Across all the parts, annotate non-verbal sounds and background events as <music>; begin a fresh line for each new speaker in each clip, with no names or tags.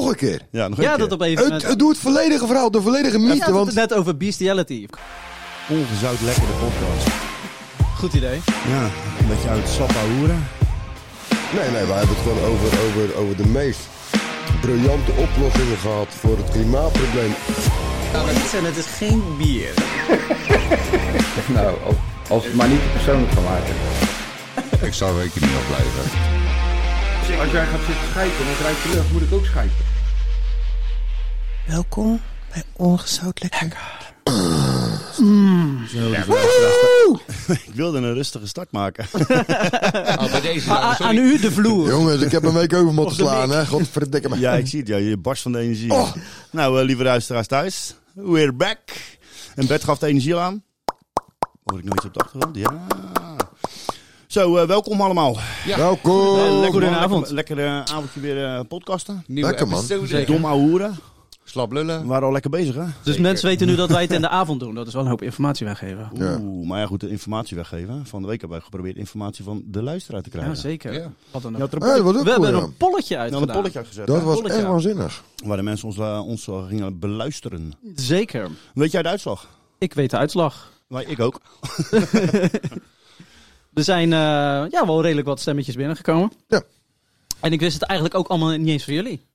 nog een keer.
Ja, nog een
Ja,
keer.
dat op even.
Het, het doet het volledige verhaal, de volledige
We
mythe.
hadden
want
het
dus-
net over bestiality.
Ongezout lekkere podcast.
Goed idee.
Ja, een beetje uit Sappa hoeren.
Nee, nee, we hebben het gewoon over, over, over de meest briljante oplossingen gehad voor het klimaatprobleem.
En Nou, het is geen bier.
<laughs> Nou, als, als het maar niet te persoonlijk van maken.
Ik zou er een keer niet op blijven.
Als jij gaat zitten schijten en het ruikt je lucht, moet ik ook schijten.
Welkom bij Ongezout Lekker.
Ah,
Ik wilde een rustige start maken.
bij deze.
A- a- ah, aan u de
<laughs>
vloer. Dus
Jongens, ik heb een week over moeten
de
slaan, hè? Godverdikke me.
<laughs> ja, ik zie het. Ja, je barst van de energie.
Oh.
Nou, eh, lieve luisteraars thuis. We're back. En Bert gaf de energie al aan. Hoor ik nog iets op de achtergrond? Ja. Zo, eh, welkom allemaal.
Nou, Welkom.
lekker,
goedenavond.
Lekker, lekker, eh, avondje weer eh, podcasten.
Lekker, man.
Dom ouwe hoeren.
Slap
We
lullen.
waren al lekker bezig, hè?
Dus mensen weten nu dat wij het in de avond doen. Dat is wel een hoop informatie weggeven.
Ja.
Oeh, maar ja, goed, de informatie weggeven. Van de week hebben wij geprobeerd informatie van de luisteraar te krijgen.
Ja, zeker.
Ja.
Wat dan
Je
ook.
had er een
Hey, dat was ook
We
cool,
hebben er
ja.
een polletje uit.
nou, een polletje uitgezet.
Dat
hè?
was
Bolletje.
echt waanzinnig.
Waar de mensen ons, eh, ons eh, gingen beluisteren.
Zeker.
Weet jij de uitslag?
Ik weet de uitslag.
Maar ik ook.
Er zijn eh, ja, wel redelijk wat stemmetjes binnengekomen.
Ja.
En ik wist het eigenlijk ook allemaal niet eens van jullie.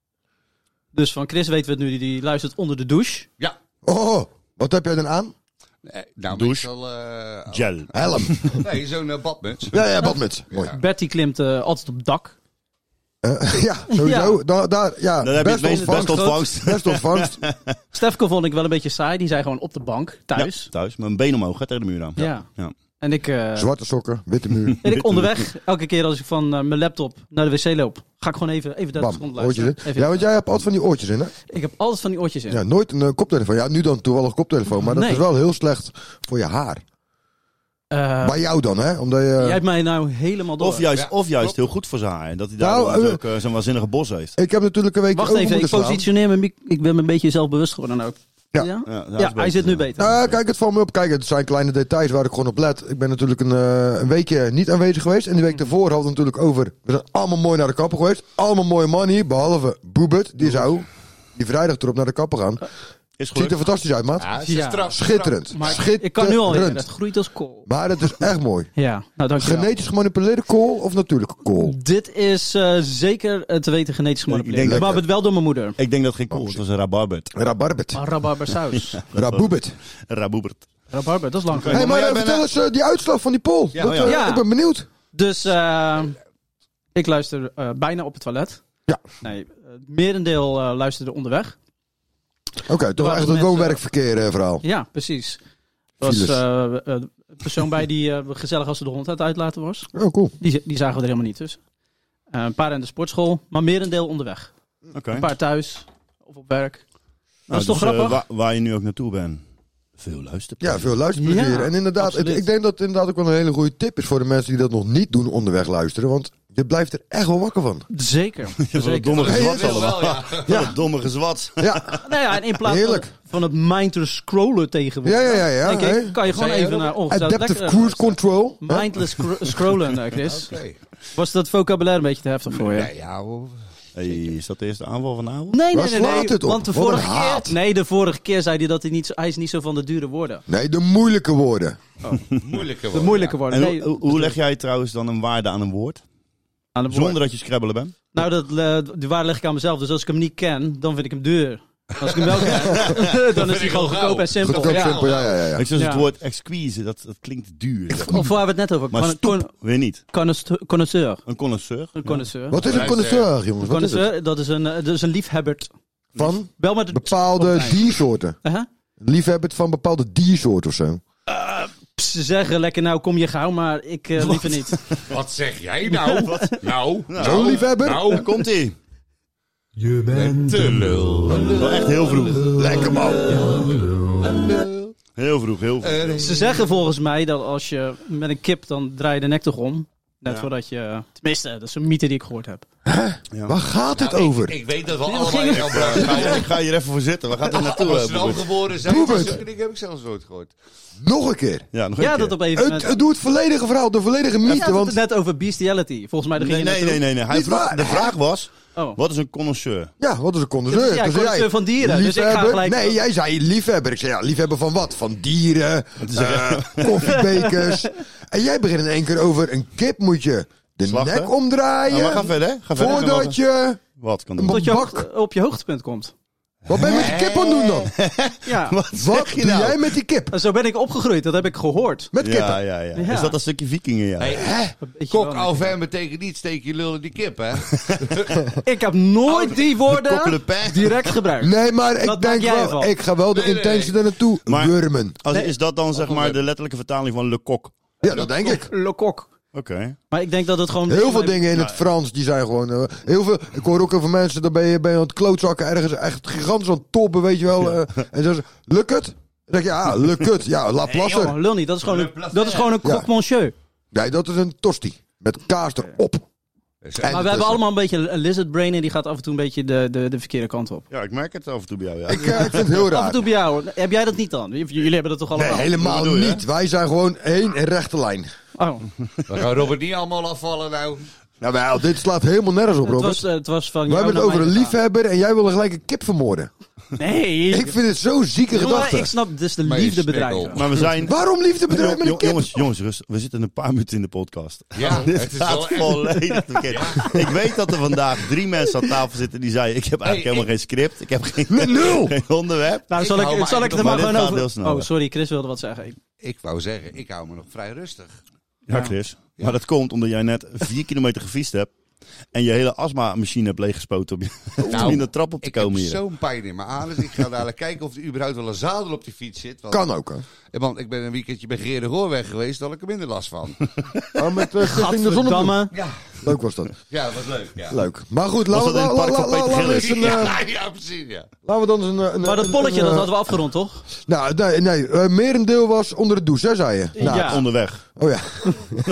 Dus van Chris weten we het nu, die, die luistert onder de douche.
Ja.
Oh, wat heb jij dan aan?
Eh, Nou,
Douche.
ik zal, eh,
Gel.
<laughs> Helm.
Nee, zo'n eh, badmuts.
Ja, ja, badmuts. Mooi.
Ja.
Bertie klimt eh, altijd op het dak.
Eh, ja, sowieso. Daar, daar, ja,
Dan heb je het
best
meest-
ontvangst.
best ontvangst.
Best ontvangst.
Stefko vond ik wel een beetje saai, die zei gewoon op de bank, thuis.
Ja, thuis. Mijn been omhoog, hè, tegen de muur aan.
Ja. En ik, eh,
Zwarte sokken, witte
<laughs>
muur.
en ik onderweg, elke keer als ik van eh, mijn laptop naar de wc loop, ga ik gewoon even, even 30
Bam,
seconden
oortjes
luisteren.
in. Ja, want jij hebt altijd van die oortjes in, hè?
Ik heb altijd van die oortjes in.
Ja, nooit een eh, koptelefoon. Ja, nu dan toevallig een koptelefoon. Maar dat
Nee.
is wel heel slecht voor je haar.
Eh,
Bij jou dan, hè? Omdat je...
jij hebt mij nou helemaal door.
Of juist,
Ja,
of juist
klopt.
heel goed voor zaaien. Dat hij daar
Nou,
dan
eh,
ook eh, zo'n waanzinnige bos heeft.
Ik heb natuurlijk een week
Wacht
over
even, ik
moeten slaan.
positioneer me. mic- Ik ben me een beetje zelfbewust geworden ook.
Ja.
Ja,
Ja, hij zit nu beter.
Nou, kijk, het valt me op. Kijk, het zijn kleine details waar ik gewoon op let. Ik ben natuurlijk een, eh, een weekje niet aanwezig geweest. En die
Mm.
week daarvoor hadden we het natuurlijk over... We zijn allemaal mooi naar de kapper geweest. Allemaal mooie man hier, behalve Boebert. Die zou die vrijdag erop naar de kapper gaan.
Is
Ziet er
goed.
fantastisch uit, maat.
Ja, ze
Ja.
straf-
Schitterend.
Maar
Schitterend.
ik kan nu al in. Het groeit als kool.
Maar het is echt mooi.
Ja, nou dankjewel.
Genetisch gemanipuleerde kool of natuurlijke kool?
Dit is eh, zeker eh, te weten genetisch
Ik
gemanipuleerd.
denk
Maar
dat-
het wel door mijn
<laughs>
moeder.
Ik denk dat het geen kool is. Het was een rabarbert.
Rabarbert.
Maar rabarbersaus.
Raboebert.
Raboebert.
Rabarber, dat is lang
Hé,
geleden.
hey, maar
jij
eh,
bent
vertel
een-
eens eh, die uitslag van die poll.
Ja,
Dat,
oh ja.
eh,
Ja.
Ik ben benieuwd.
Dus eh, ik luister eh, bijna op het toilet.
Ja.
Nee, het merendeel eh, luisterde onderweg.
Oké, toch
Waar
echt
de
een
mensen-
woon-werkverkeer eh, verhaal.
Ja, precies. Er was
Files.
eh, eh, een persoon bij die eh, gezellig als ze de hond aan het uitlaten was.
Oh, cool.
Die, die zagen we er helemaal niet tussen. Eh, een paar in de sportschool, maar merendeel onderweg.
Oké.
Een paar thuis of op werk.
Nou,
is toch
dus, eh,
grappig?
waar, waar je nu ook naartoe bent. Veel luisterplezier.
Ja, veel luisterplezier.
Ja,
en inderdaad, het-
absoluut.
ik denk dat het inderdaad ook wel een hele goede tip is voor de mensen die dat nog niet doen onderweg luisteren. Want je blijft er echt wel wakker van. <laughs>
Zeker.
Wat een
zeker.
domme
Nee,
gezwats
dat wil
allemaal.
wel, ja.
Wat een domme gezwats.
Ja,
Nou ja, en in plaats van-
Heerlijk.
van het mind te scrollen
ja,
tegenwoordig.
ja, ja. ja,
denk ik,
hè?
kan je gewoon
zei je
even naar ongezout
Adaptive
lekker- eh,
cruise control. hè?
Mindless scro- scrollen, eh, Chris.
Oké.
Was dat vocabulaire een beetje te heftig voor je?
Nee, ja, hoor.
Hey, is dat de eerste aanval van de avond?
Nee,
Waar
nee, nee. nee,
slaat het op?
Want de
Wat een
vorige,
haat.
keer, nee, de vorige keer zei hij dat hij niet, zo- hij is niet zo van de dure woorden.
Nee, de moeilijke woorden.
Moeilijke
De
woorden,
moeilijke woorden.
En
Oh, Nee,
hoe, hoe leg jij trouwens dan een waarde aan een woord?
aan de woorden.
Zonder dat je scrabbelen bent?
Nou, dat, eh, die waarde leg ik aan mezelf. Dus als ik hem niet ken, dan vind ik hem duur. Als ik hem wel
<laughs>
ken, dan is hij gewoon
ik wel
goedkoop
gauw.
en simpel.
Goedkoop,
Ja.
simpel, ja, ja, ja. ja.
Ik zeg
Ja.
het woord exquise, dat, dat klinkt duur. zeg maar.
Of waar hebben we het net over?
Maar
Con-
stoep, weer niet.
con- Connoisseur.
Een connoisseur.
Een connoisseur.
Wat is een
Luister.
connoisseur, jongens? Wat is het?
Connoisseur, dat is een, eh, dat is een liefhebber.
Van
Wel met de...
bepaalde diersoorten.
Hè?
Liefhebber van bepaalde diersoorten of zo.
Ze zeggen lekker, nou kom je gauw, maar ik eh, liever niet.
Wat zeg jij nou? nou, nou,
Zo'n liefhebber?
Nou,
Daar komt ie.
Je bent
te lul.
Wel echt heel vroeg.
Lekker man.
Heel vroeg, heel vroeg.
Ze zeggen volgens mij dat als je met een kip, dan draai je de nek toch om. Net
Ja.
voordat je... Tenminste, dat is een mythe die ik gehoord heb.
Waar gaat het over?
Nou, Ik weet dat we
ging
allemaal in Elbra
Ik ga hier- Ik ga hier even voor zitten. Waar gaat dit naartoe?
Als
eh,
ze nou
Boebert?
geboren zijn,
Boebert.
zulke dingen heb ik zelfs nooit gehoord.
Nog een keer.
Ja, nog een
Ja,
keer.
dat op even...
Het, het doet het volledige verhaal, de volledige mythe.
want...
want
het net over bestiality. Volgens mij daar
Nee,
ging je
nee,
naartoe.
nee, nee. nee. Hij
Niet
vroeg,
waar.
de vraag was,
Oh.
Wat is een connoisseur?
Ja, wat is een
Ja,
condenseur?
connoisseur van dieren, dus ik ga
liefhebber?
gelijk-
Nee, jij zei liefhebber. Ik zei ja, liefhebber van wat? Van dieren, eh,
<laughs>
koffiebekers. en jij begint in één keer over een kip moet je de
Slachten.
nek omdraaien.
Nou, maar ga verder. Ga verder.
voordat je...
Wat kan
eh, Een
doen?
Tot je
bak.
hoogte- op je hoogtepunt komt.
Wat ben je met die kip aan het doen dan?
<laughs>
Ja.
<laughs> Wat doe
nou?
jij met die kip?
En Zo ben ik opgegroeid, dat heb ik gehoord.
Met kippen?
Ja, ja, ja,
Ja.
Is dat een stukje vikingen, ja?
Een beetje
Kok
wel.
au vin betekent niet steek je lul in die kip, hè? <laughs>
Ik heb nooit die
Coq le
woorden
pain.
direct gebruikt.
Nee, maar ik
Dat maak
denk
jij
wel...
ervan.
Ik ga wel de
Nee, nee,
intentie
nee.
er naartoe
Maar-
wurmen.
Als,
Nee.
is dat dan zeg maar de letterlijke vertaling van le coq?
Ja, dat denk ik.
Le kok.
Oké.
Maar ik denk dat het gewoon...
Heel veel dingen in het Frans, die zijn gewoon... eh, heel veel, ik hoor ook over mensen, dan ben je, ben je aan het klootzakken ergens. Echt gigantisch aan het toppen, weet je wel. eh, en dan zeggen ze, lukt het? Dan denk je, ja, lukt het. Ja, la
<laughs>
Jongen,
plassen.
Oh, lul niet, dat is gewoon een, dat is gewoon een
Ja.
croque monsieur.
Nee, dat is een tosti. Met kaas erop. En
Maar
het
we hebben
is-
allemaal een beetje een lizard brain en die gaat af en toe een beetje de, de, de verkeerde kant op.
Ja, ik merk het af en toe bij jou, ja.
<laughs> Ik, eh, ik vind het heel
Af en
raar.
toe bij jou, hoor. heb jij dat niet dan? J- Jullie hebben dat toch
Nee,
allemaal?
helemaal
Wat bedoel je,
niet. Wij zijn gewoon één rechte lijn.
Oh.
We gaan Robert niet allemaal afvallen nou.
Nou, wel, dit slaat helemaal nergens op,
Het,
Robert.
was, eh, het was van
We
jou
hebben het
naar
over een
mij gegaan.
liefhebber en jij wil gelijk een kip vermoorden.
Nee.
Ik vind het zo'n zieke
Jongen,
gedachte.
ik snap dus de
Maar je
liefde
snikkel.
bedrijven.
Maar we zijn...
Waarom liefdebedrijf met een
Jong-
kip?
jongens, jongens, rust. We zitten een paar minuten in de podcast.
Ja,
<laughs> Dit
het is wel
gaat
echt-
volledig verkeerd. Ik weet dat er vandaag drie mensen aan tafel zitten die zeiden... ik heb eigenlijk helemaal geen script, ik heb geen,
nul!
<laughs> geen onderwerp.
Nou,
Ik
zal ik,
hou me
zal ik het er
eigenlijk
nog-
maar
Maar
gewoon
dit gaat
over...
heel snel,
Oh,
hè.
sorry, Chris wilde wat zeggen. Ik-
Ik wou zeggen, ik hou me nog vrij rustig.
Ja, Chris. Maar dat komt omdat jij net vier kilometer gefietst hebt... en je hele astma-machine hebt leeggespoten om, je,
Nou,
om in de trap op te
Ik
komen
heb
hier.
zo'n pijn in mijn anus. Ik ga dadelijk <laughs> kijken of er überhaupt wel een zadel op die fiets zit. Want,
Kan ook, hè.
Eh, want ik ben een weekendje bij Gerard Hoorweg geweest, daar had ik er minder last
<laughs>
van.
Oh, met eh, Stichting de Zonnebloem.
Gadverdamme.
Ja,
Leuk was dat.
ja dat was leuk. Ja, <laughs>
Leuk. Maar goed, laten
Was
we,
dat in het
la-
park
la-
van
la-
Peter
laten we
Gillis?
eens een, eh,
ja, <laughs> ja, precies, ja.
laten we dan eens een... eh, een
Maar dat
een-
polletje,
een,
dat
eh,
hadden we afgerond, toch?
Nou, nee, nee eh, merendeel was onder de douche, hè, zei je? Nou,
Ja.
<laughs>
Onderweg.
Oh ja,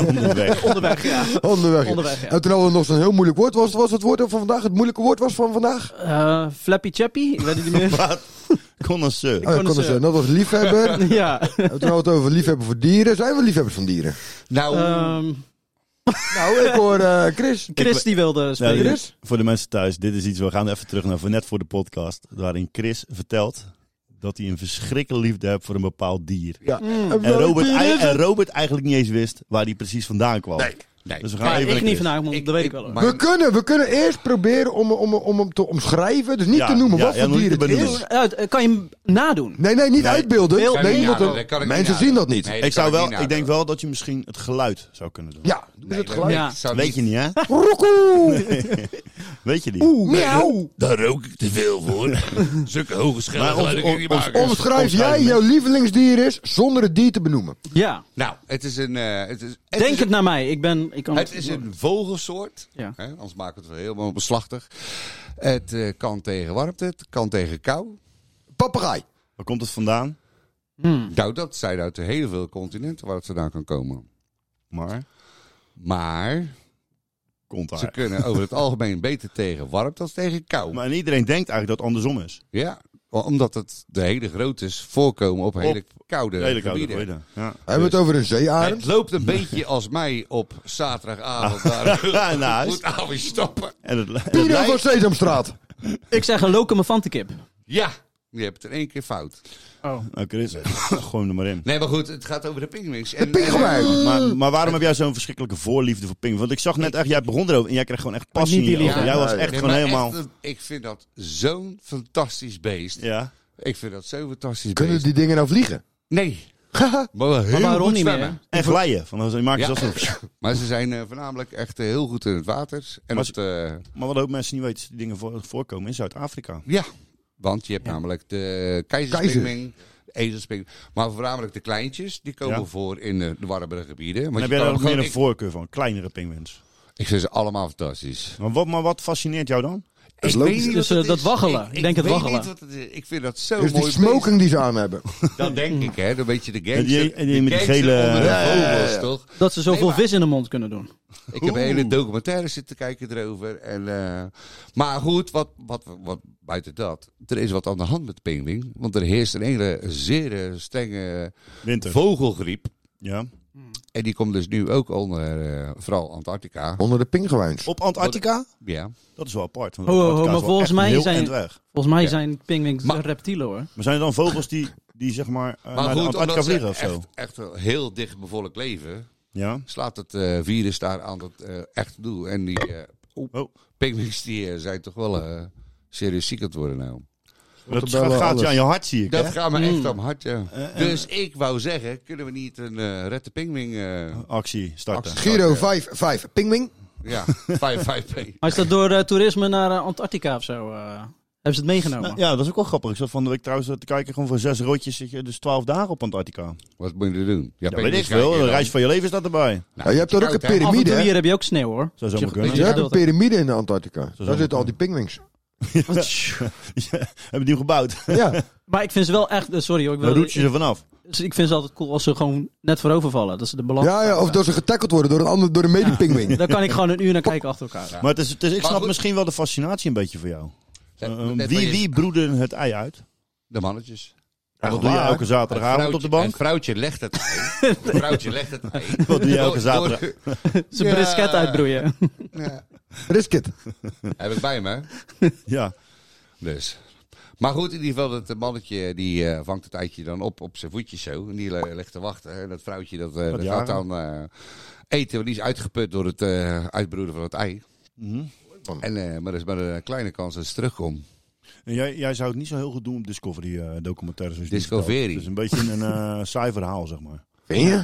Onderweg.
Onderweg,
<laughs>
ja.
onderweg.
Onderweg, ja.
En toen hadden we nog zo'n heel moeilijk woord. Was, was het woord van vandaag, het moeilijke woord was van vandaag?
Eh, Flappy Chappy? Ik weet het niet
<laughs>
meer.
Wat? Connoisseur.
Oh, ja, kon
eens,
eens,
eh,
eh, dat was liefhebber.
<laughs>
en
ja.
toen hadden we het over liefhebber voor dieren. Zijn we liefhebbers van dieren?
Nou,
Ehm,
Nou, ik hoor eh, Chris.
Chris die wilde
Nou,
spelen.
dit- voor de mensen thuis, dit is iets, we gaan even terug naar voor net voor de podcast, waarin Chris vertelt dat hij een verschrikkelijke liefde heeft voor een bepaald dier.
Ja.
En Robert,
dier
ei-
is
en Robert eigenlijk niet eens wist waar hij precies vandaan kwam.
nee, nee.
Dus we gaan
Ja,
even naar
ik niet
Chris.
vandaag, want
Ik-
dat weet ik
ik-
wel. hoor.
maar-
We kunnen, we kunnen eerst proberen om, om, om hem te omschrijven. Dus niet
Ja,
te noemen
ja,
wat
ja,
voor
nog niet
dier
te
het
benoemen.
is.
Uit, eh, kan je hem nadoen?
Nee, nee, niet
Nee.
uitbeelden.
Beeld-
Nee,
niet
want
nadoen,
dan-
dat kan ik
mensen
niet
zien dat
nadoen.
niet.
Nee,
Ik, zou
kan
wel,
niet
ik denk
nadoen.
wel dat je misschien het geluid zou kunnen doen.
Ja, doe
Nee,
het
dat-
gelijk.
Ja.
ik zou
Weet
niet-
je niet, hè?
<laughs>
Roekoe!
Weet je niet.
Miauw!
Daar rook ik te veel
<laughs>
voor. Zulke hoge schellen
Maar ons-
geluiden kan ik niet
ons-
maken.
Omschrijf jij
Omschrijven.
jouw lievelingsdier is zonder het dier te benoemen.
Ja.
Nou, het is een... eh, het is, het
Denk
is
het
nou.
naar mij. Ik ben... Ik kan
Het is een vogelsoort.
Ja.
Hè? Anders maken we het wel helemaal beslachtig. Het eh, kan tegen warmte, het kan tegen kou.
Papegaai.
Waar komt het vandaan?
Hmm.
Nou, dat zijn uit heel veel continenten waar het vandaan kan komen.
Maar,
Maar
komt
ze
daar.
kunnen over het algemeen beter tegen warmte dan tegen kou.
Maar en iedereen denkt eigenlijk dat het andersom is.
Ja, omdat het de hele grote is voorkomen op hele koude
Hele koude
gebieden.
gebieden. Ja.
Hebben we het over een
Het
zeearend?
loopt een beetje als mij op
<laughs>
zaterdagavond daar
Ja, nou,
goed avond stappen.
en het, en het
Pino van
lijkt-
Sesamstraat.
Ik zeg een locomofantenkip.
Ja, je hebt het in één keer fout.
Oh.
Nou Chris, gooi hem er maar in.
Nee, maar goed, het gaat over de pingwings.
De pinguïn.
Maar, maar waarom heb jij zo'n verschrikkelijke voorliefde voor ping? Want ik zag net echt, jij begon erover en jij kreeg gewoon echt passie
Niet
in je
die
ogen.
liefde.
Jij was
Nee.
echt
Nee,
gewoon
maar
helemaal...
echt, eh, ik vind dat zo'n fantastisch beest.
Ja.
Ik vind dat zo'n fantastisch
Kunnen
beest.
die dingen nou vliegen?
Nee.
<laughs>
maar wel heel
waarom
goed
niet
zwemmen.
meer?
En glijden. Van, dan maken ze
Ja.
zelfs nog-
Maar ze zijn eh, voornamelijk echt eh, heel goed in het water. En
Maar
op de,
Maar wat ook mensen niet weten, is die dingen voor- voorkomen in Zuid-Afrika.
ja, want je hebt namelijk de keizerspingwing, de ezelspingwing. Maar voornamelijk de kleintjes, die komen
Ja.
voor in eh, de warmere gebieden. Want
En heb
je
jij daar
kan
ook
gewoon-
meer een
ik-
voorkeur van? Kleinere pinguïns.
Ik vind ze allemaal fantastisch.
Maar wat, maar wat fascineert jou dan?
Ik
logisch.
weet niet
Dus,
wat
eh,
het
dat
is.
waggelen. Ik denk het
weet
waggelen.
niet wat het is. Ik vind dat zo
Dus
mooi.
die smoking die ze aan hebben.
beest. Dat denk ik, hè. Dan weet je de
En die-
gangster.
en die met die
gangster
gele-
onder de
Ja, ja, ja,
vogels,
ja.
toch?
Dat ze zoveel
maar-
vis in de mond kunnen doen.
Ik heb een hele documentaire zitten kijken erover. En, eh, maar goed, wat, wat, wat buiten dat. Er is wat aan de hand met de pinguïn. Want er heerst een hele zeer eh, strenge
Winter.
vogelgriep.
Ja.
En die komt dus nu ook onder, eh, vooral Antarctica.
Onder de pingwijns.
Op Antarctica?
Ja.
Dat is wel apart. want
Ho, ho, ho,
Antarctica is
maar
wel
volgens
echt
mij
heel
zijn-
en dwerg.
Volgens mij
Ja.
zijn pinguïns
Maar-
reptielen hoor.
Maar zijn er dan vogels die, die zeg maar, eh, naar
Maar
de
goed,
Antarctica
omdat ze
vliegen of zo?
echt, echt een heel dicht bevolkt leven,
Ja.
slaat het eh, virus daar aan het eh, echt doel. En die eh oep,
Oh.
pinguïns die eh, zijn toch wel eh, serieus ziek aan het worden nou.
Dat
bellen,
gaat gaat je
alles.
aan je hart, zie ik.
Dat
hè?
gaat me echt aan mijn hart, ja.
Eh, eh.
Dus ik wou zeggen, kunnen we niet een eh Red de Pingwing eh,
Oh. Actie starten.
actie
Giro
starten?
55 Pingwing.
<laughs>
Ja, 5-5-P.
Maar is dat door eh, toerisme naar eh, Antarctica of zo? eh, hebben ze het meegenomen?
Nou, ja, dat is ook wel grappig. Ik zat van de week trouwens te kijken, gewoon voor zes rotjes zit je dus twaalf dagen op Antarctica.
Wat moet je er doen?
Ja, weet ik veel. De reis van je leven staat erbij.
Nou,
Ja, je hebt daar ook een
Af en toe
piramide, hè?
hier heb je ook sneeuw hoor.
Zo zou
Tjoh,
maar kunnen.
Je
weet Ja,
hebt een
dat-
piramide in de Antarctica.
zou
Daar
kunnen.
zitten al die pingwings.
Ja, Hebben die hem
<laughs>
gebouwd?
Ja,
<laughs> Maar ik vind ze wel echt, eh, sorry hoor, ik,
Dan
wil,
roet je
ik,
ze vanaf.
ik vind ze altijd cool als ze gewoon net voorover vallen. Dat is de belang.
ja, ja of dat ze getackeld worden door een, ander, door een medepingwing.
<laughs> Daar kan ik gewoon een uur naar kijken achter elkaar.
Maar het is, het is, ik
Maar
snap
goed.
misschien wel de fascinatie een beetje voor jou. Eh, eh,
Net
wie,
waar je-
wie broeden het ei uit?
De mannetjes.
En wat doe je
waar.
elke zaterdagavond
Het
op de
vrouwtje-
bank?
Het vrouwtje legt het ei. Het vrouwtje legt het ei.
<laughs> Wat doe je elke
Door-
zaterdag?
door-
Ze
Ja.
brisket uitbroeien.
Ja.
Brisket.
<laughs> Heb ik bij me.
Ja.
Dus. Maar goed, in ieder geval, dat eh, mannetje die eh, vangt het eitje dan op op zijn voetjes zo. En die le- legt te wachten. En dat vrouwtje dat, eh, dat
jaren.
gaat dan eh, eten. Want die is uitgeput door het eh, uitbroeden van het ei.
Mhm.
En, eh, maar er is maar een kleine kans dat ze terugkomt.
En jij, jij zou het niet zo heel goed doen op Discovery eh documentaires. zoals je nu
Discovery.
vertelt. Dus een beetje een eh <laughs> saai verhaal, zeg maar.
Vind je?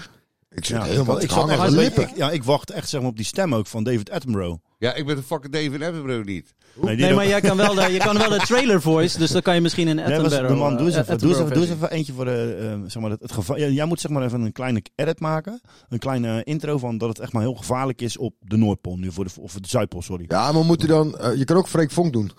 Ik zit
Ja,
helemaal... Ik
zat
hang
echt
aan
een
de
beetje-
lippen.
ik- ja, ik wacht echt zeg maar, op die stem ook van David Attenborough.
Ja, ik ben de fucking David Attenborough niet.
Nee, die
Nee,
docu-
maar jij kan wel de, je kan wel de trailer voice, dus dan kan je misschien een
Nee, was-
Attenborough...
man, doe eens
eh,
even, doe eens even, doe eens
Attenborough
even eentje voor de, eh, zeg maar het, het gevaar. Ja, jij moet zeg maar even een kleine edit maken. Een kleine intro van dat het echt maar heel gevaarlijk is op de Noordpool nu, voor de, of de Zuidpool, sorry. Ja.
Ja, maar moet hij dan... eh, je kan ook Freek Vonk doen.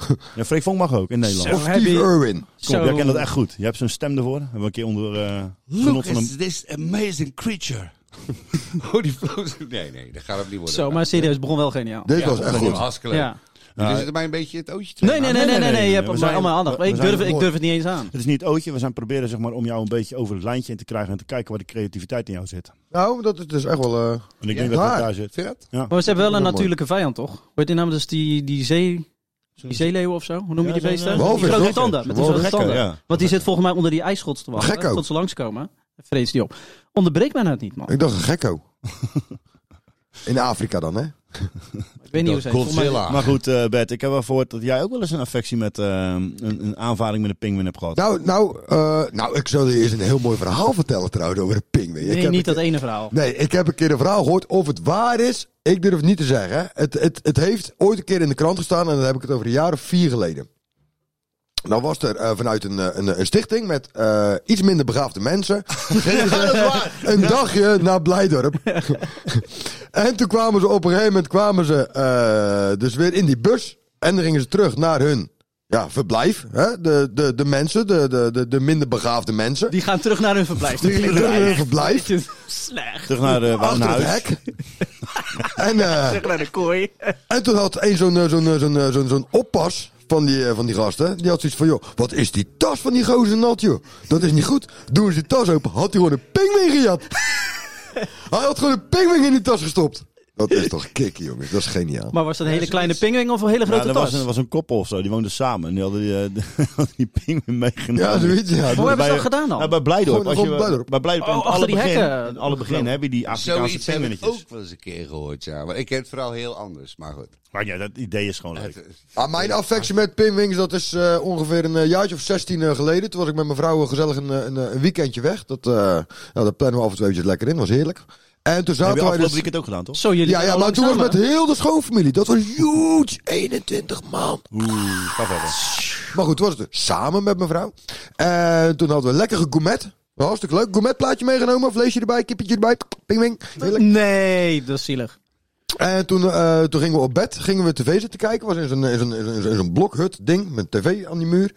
Freek Vonk mag ook in Nederland.
Zo.
Of
Of heb
Steve
je-
Irwin.
Kom,
Zo.
jij kent dat echt goed. Je hebt zo'n stem ervoor. Hebben we een keer onder eh genot van een...
this amazing creature. <laughs> oh, die vloos. Nee, nee, dat gaat hem niet worden.
Zo, maar serieus, begon wel geniaal.
Dit was echt goed.
Hartstikke leuk.
Ja.
Jullie zitten mij een beetje het ootje te
Nee, nee, nee, nee, nee, nee, je
We
hebt
zijn-
maar allemaal aandacht.
we- we
Ik
zijn
durf, ik
gehoord.
durf het niet eens aan.
Het is niet het ootje. We zijn proberen zeg maar, om jou een beetje over het lijntje in te krijgen en te kijken waar de creativiteit in jou zit.
Nou, dat is dus echt wel... eh,
En ik
Ja,
denk dat
waar.
het daar zit.
Vind je dat?
Maar ze hebben wel
Dat is
een
mooi.
natuurlijke vijand, toch? Weet je nou, dus die, die, zee, die zeeleeuwen of zo? Hoe noem
Ja,
je die
zo'n,
beesten?
eh,
walvis,
die grote
toch?
tanden. Met die
Walvis.
grote tanden.
Ja.
Want die zit volgens mij onder die ijsschots te wachten.
Gekko.
Tot ze langskomen. Vrees die op. Onderbreek mij nou het niet, man.
Ik dacht een <laughs> gekko. In Afrika dan, hè?
Ik weet niet hoe ze heet. Volgens mij-
<laughs> Maar goed, eh, Bert, ik heb wel gehoord dat jij ook wel eens een affectie met eh, een, een aanvaring met een pinguïn hebt gehad.
Nou, nou, eh, nou, ik zal je eens een heel mooi verhaal vertellen trouwens over de pingwing. Ik
Nee,
heb
niet
een
dat ene verhaal.
Nee, ik heb een keer een verhaal gehoord. Of het waar is, ik durf het niet te zeggen. Het, het, het heeft ooit een keer in de krant gestaan. En dan heb ik het over een jaar of vier geleden. Nou was er eh, vanuit een, eh, een, een stichting met eh, iets minder begaafde mensen. gingen ze Een dagje naar Blijdorp. en toen kwamen ze op een gegeven moment kwamen ze, eh, dus weer in die bus. En dan gingen ze terug naar hun ja, verblijf. Hè? De, de, de mensen, de, de, de, de minder begaafde mensen.
Die gaan terug naar hun verblijf.
Die gingen terug naar hun verblijf.
Slecht.
Terug naar, eh,
Achter
naar
het
huis.
hek. en, eh,
Terug naar de kooi.
en toen had een zo'n eh, zo'n eh, zo'n eh, zo'n zo'n oppas van die, eh, van die gasten. Die had zoiets van, joh, wat is die tas van die gozer nat, joh. Dat is niet goed. Doen ze die tas open, had hij gewoon een pinguïn
<laughs>
gejat. hij had gewoon een pinguïn in die tas gestopt. Dat is
<laughs>
toch kicken, jongens. Dat is geniaal.
Maar was dat een hele kleine pingwing of een hele
Ja,
grote
er was,
tas?
een, was een koppel of zo, die woonden samen. En die hadden die, eh, <laughs> hadden die pinguïn meegenomen.
ja, zoiets, ja.
Hoe hebben ze
Bij-
dat gedaan
Ja,
dan?
Nou, bij Blijdorp.
Gewoon-
Als je,
gewoon Blijdorp.
Bij Blijdorp,
Oh,
aan het
achter die
begin,
hekken.
aan alle begin heb je die Afrikaanse
Zoiets heb ik
pinguïnnetjes.
ook wel eens een keer gehoord, ja. Maar ik ken het vooral heel anders, maar goed.
Maar ja, dat idee is gewoon leuk.
Het-
Ah, mijn affectie met pinwings, dat is eh, ongeveer een eh, jaartje of 16 eh, geleden. Toen was ik met mijn vrouw eh, gezellig een, eh, een, eh, een weekendje weg. Dat, eh nou, dat plannen we af en toe eventjes lekker in. was heerlijk. En toen
Heb je
zaten wij
afgelopen
dus...
weekend ook gedaan, toch?
Zo, jullie
Ja,
zijn
ja
al
maar
lang
toen was
samen.
met heel de schoonfamilie. Dat was huge. 21 man.
Oeh, ga verder.
Maar goed, toen was het dus samen met mevrouw. En toen hadden we lekker gourmet. Hartstikke leuk. Gourmetplaatje meegenomen. Vleesje erbij, kippetje erbij. Ping, ping. Heerlijk.
Nee, dat is zielig.
En toen, eh, toen gingen we op bed. Gingen we tv zitten kijken. Was in zo'n, in zo'n, in zo'n, in zo'n blokhut ding. Met tv aan die muur.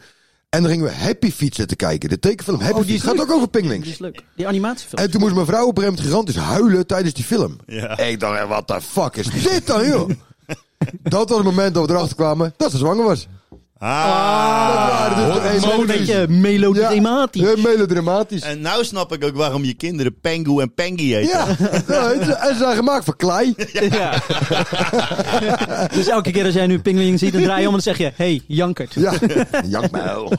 En dan gingen we Happy Feet zitten kijken. De tekenfilm Happy
Oh, die
Feet.
is
Gaat
leuk.
ook over
Dat
pingwings.
is leuk. Die animatiefilm.
En toen moest mevrouw op een gegeven moment gigantisch huilen tijdens die film.
Ja.
Ik dacht, hé, wat de fuck is dit dan,
<laughs>
joh? dat was het moment dat we erachter kwamen dat ze zwanger was.
Ah,
Dat waren dus de
Eh, Zo
emoties.
een beetje melodramatisch.
Ja, melodramatisch.
En nou snap ik ook waarom je kinderen Pengu en Pengi heten.
Ja, nou, het- en ze zijn gemaakt van klei.
Ja. <laughs> dus elke keer als jij nu een pingeling ziet, dan draai je om en dan zeg je: hey,
<laughs>
jankert.
Ja, jankmuil.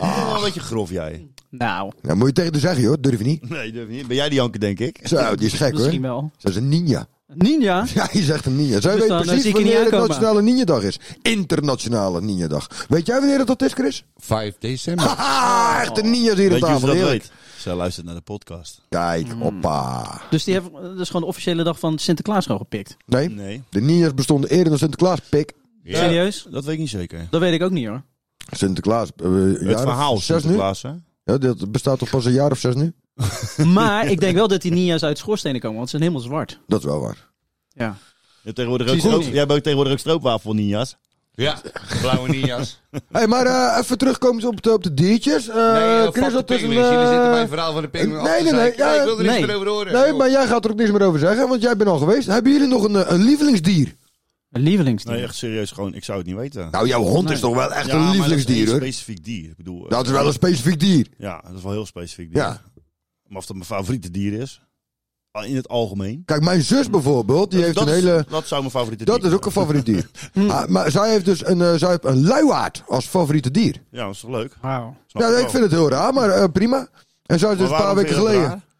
Oh, een beetje grof jij.
Nou,
Nou, moet je tegen de zeggen, joh. Durf je niet.
Nee, durf niet. Ben jij die janker, denk ik?
Zo, die is gek, hoor.
misschien wel.
Ze is een ninja. <laughs>
Ninja?
Ja, je zegt een ninja. Zij
Dus dan,
weet
eh, zie
precies
ik er niet
wanneer de
aankomen.
Nationale Ninja-dag is. Internationale Ninja-dag. Weet jij wanneer het dat is, Chris?
5 december.
Haha, echt de ninja's hier
Oh. Weet
op
je hoe ze
tafel.
dat
heerlijk.
weet? Hmm. Ze luistert naar de podcast.
Kijk, oppa.
Dus die hebben, dat is gewoon de officiële dag van Sinterklaas gewoon gepikt.
Nee,
Nee.
de ninja's bestonden eerder dan Sinterklaas. Pik.
Serieus?
Dat weet ik niet zeker.
Dat weet ik ook niet hoor.
Sinterklaas. eh, een jaar
het
of
verhaal
zes nu.
Sinterklaas, hè?
Ja, dat bestaat toch pas een jaar of zes nu?
Maar ik denk wel dat die ninja's uit schoorstenen komen, want ze zijn helemaal zwart.
Dat is wel waar.
Je
Ja.
hebt tegenwoordig ook
Precies.
stroop,
Goed.
jij hebt ook tegenwoordig ook stroopwafel ninjas.
Ja, blauwe ninjas.
Hé, hey, maar eh, even terugkomen op de, op de diertjes. Eh,
Nee, Chris,
Chris,
dat
dat is een...
Jullie zitten bij
eh,
het verhaal van de pinguïn
nee,
af
nee,
te
nee,
zeiken.
ja,
ik wil er niks
nee.
meer over horen.
Nee,
joh.
maar jij gaat er ook niks meer over zeggen, want jij bent al geweest. Hebben jullie nog een, eh, een lievelingsdier?
Een lievelingsdier.
Nee, echt serieus, gewoon, ik zou het niet weten.
Nou, jouw hond is
Nee.
toch wel echt
Ja, maar
een
dat is
lievelingsdier,
één
hoor.
specifiek dier. Ik bedoel, eh,
Dat is wel een specifiek dier.
Ja, dat is wel een heel specifiek dier.
Ja.
Maar of dat mijn favoriete dier is? Ah, In het algemeen.
Kijk, mijn zus bijvoorbeeld, die
Dat-
heeft
dat
een
is- Hm.
hele...
Dat zou mijn favoriete dier
Dat is ook een
zijn.
favoriet
<laughs>
dier. Ah, maar zij heeft dus een, eh, zij heeft een luiaard als favoriete dier.
Ja, dat is toch leuk?
Wauw.
Snap
ja,
ik
ik
wel.
vind het heel raar, maar eh, prima. En zij is dus
Maar
een paar
waarom
weken
vind je dat
geleden.
raar?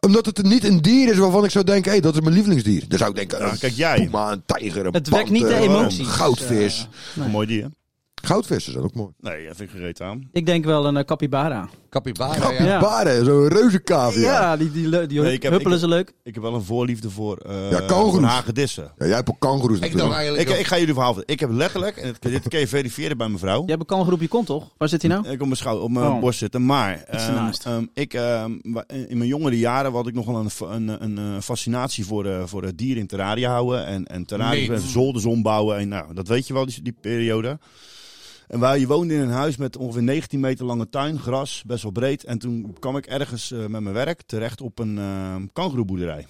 Omdat het niet een dier is waarvan ik zou denken, hé, dat is mijn lievelingsdier. Dan zou ik denken,
Ja,
een
kijk jij.
puma, een tijger, een
Het wekt niet de
panter, een
emoties.
goudvis.
Een mooi dier.
Goudvissen zijn ook mooi.
Nee, dat vind ik gereed aan.
Ik denk wel een eh, capybara.
Capybara, ja.
Ja.
Baren, zo'n reuzenkavia. Ja.
die, die, le- die
Nee, ik heb-
huppelen
ik
ze leuk.
Ik heb wel een voorliefde voor, eh
Ja, kangoeroes.
voor hagedissen.
jij hebt ook kangoeroes
Ik dan
natuurlijk.
eigenlijk...
Ik, ik ga jullie verhaal vertellen. Ik heb letterlijk, en dit- dit kun je verifiëren bij mevrouw.
Jij hebt een kangeroep, je komt toch? Waar zit hij nou?
Ik op mijn schouder, op mijn
Oh.
borst zitten. Maar ehm,
ernaast.
ehm, ik, ehm, wa- in mijn jongere jaren had ik nogal een, fa- een, een, eh, fascinatie voor, eh, voor het dier in terraria houden. En, en terraria
Nee.
en zolders ombouwen. En, nou, dat weet je wel, die, die periode. En waar je woonde in een huis met ongeveer 19 meter lange tuin, gras, best wel breed. En toen kwam ik ergens eh, met mijn werk terecht op een ehm kangoeroeboerderij.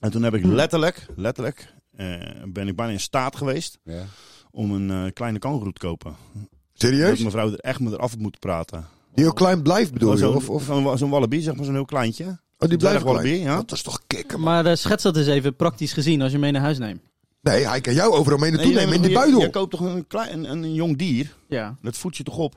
En toen heb ik letterlijk, letterlijk, eh, ben ik bijna in staat geweest
Ja.
om een eh, kleine kangoeroe te kopen. Dat
Serieus?
mevrouw er echt me eraf had moeten praten.
Die heel klein blijft bedoel je?
Zo'n-
Oh, Of, of,
Zo'n, zo'n wallaby, zeg maar, zo'n heel kleintje.
oh, die blijft
dwergwallaby,
klein.
ja.
Dat is toch kikker, man.
Maar eh, schets dat eens even praktisch gezien als je mee naar huis neemt.
Nee, hij kan jou overal mee
En
naartoe
je
nemen in
neemt
die
toch- Je, je
buidel.
koopt toch een, klein, een, een jong dier?
Ja.
Dat voedt je toch op?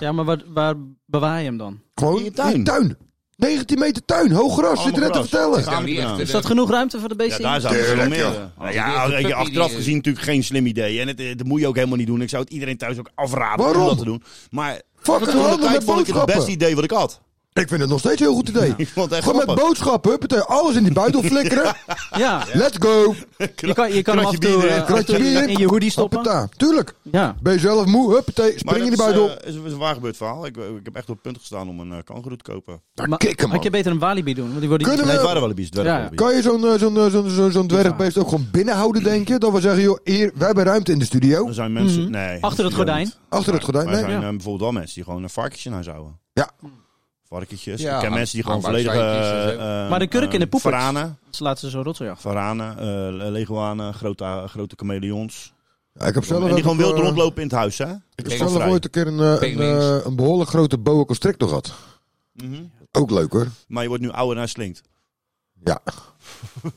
Ja, maar waar, waar bewaar je hem dan?
Gewoon
in je
in
tuin.
je tuin. 19 meter tuin, hoog gras, zit je net
Allemaal
te
gras.
vertellen.
Is nou niet echt
Is
een-
dat genoeg ruimte voor de
Ja,
beesten?
daar
in?
zou ik wel
Tuurlijk,
meer...
joh.
Ja,
Nou Ja,
ja,
als
weet
puppy
je, achteraf
die- eh,
gezien natuurlijk geen slim idee. En het, eh, dat moet je ook helemaal niet doen. Ik zou het iedereen thuis ook afraden
Waarom?
om dat te doen. Maar
Fucking
toen de
handen
tijd
met
vond ik het het beste
boodschappen.
idee wat ik had.
Ik vind het nog steeds een heel goed
<laughs>
idee.
Ik vond het echt
Gewoon met
grappig.
boodschappen, huppatee, alles in die buidel
<laughs>
flikkeren.
Ja.
Let's go.
Je kan, je kan hem af
Kratje
en toe
bier,
eh,
eh,
af en toe
kratje bier.
in je hoodie stoppen.
Hoppata, tuurlijk.
Ja.
Ben je zelf moe, huppatee,
Maar
spring in die
dat is,
buidel.
eh, is, is een waar gebeurd verhaal. Ik, eh, ik heb echt op het punt gestaan om een eh kangoeroe te kopen.
Maar
Nou, kikken, man.
had je beter een walibi doen? Want die worden
Kunnen
Nee, het
we-
waren wallabies, dwergwallabies.
Kan je zo'n eh, zo'n eh, zo'n zo'n zo'n dwergbeest ook gewoon binnenhouden, denk je? Dat we zeggen, joh, hier, wij hebben ruimte in de studio.
Er zijn mensen...
Mhm.
Nee.
Achter het
die doen
gordijn.
niet.
Achter het gordijn,
Maar er
nee.
zijn
ja.
eh, bijvoorbeeld wel mensen die gewoon een varkentje in huis houden.
Ja.
Varkentjes.
Ja,
ik ken
aan-
mensen die gewoon
aanbouw-
volledig...
zwijntjes en
eh eh,
Maar de kurk
eh,
in de poepert.
Varanen.
Ze Dus laten ze zo'n rotzooi achter.
Varanen, eh, leguanen, grote, grote chameleons.
Ja, ik heb zelf
en
ook,
die gewoon wild
eh,
rondlopen in het huis, hè?
Ik
Kijk,
heb zelf
vrij.
ooit een keer een, eh, een,
Penguins.
eh, een behoorlijk grote boa constrictor gehad. Ook leuk hoor.
Mhm. Maar je wordt nu ouder en hij slinkt.
Ja.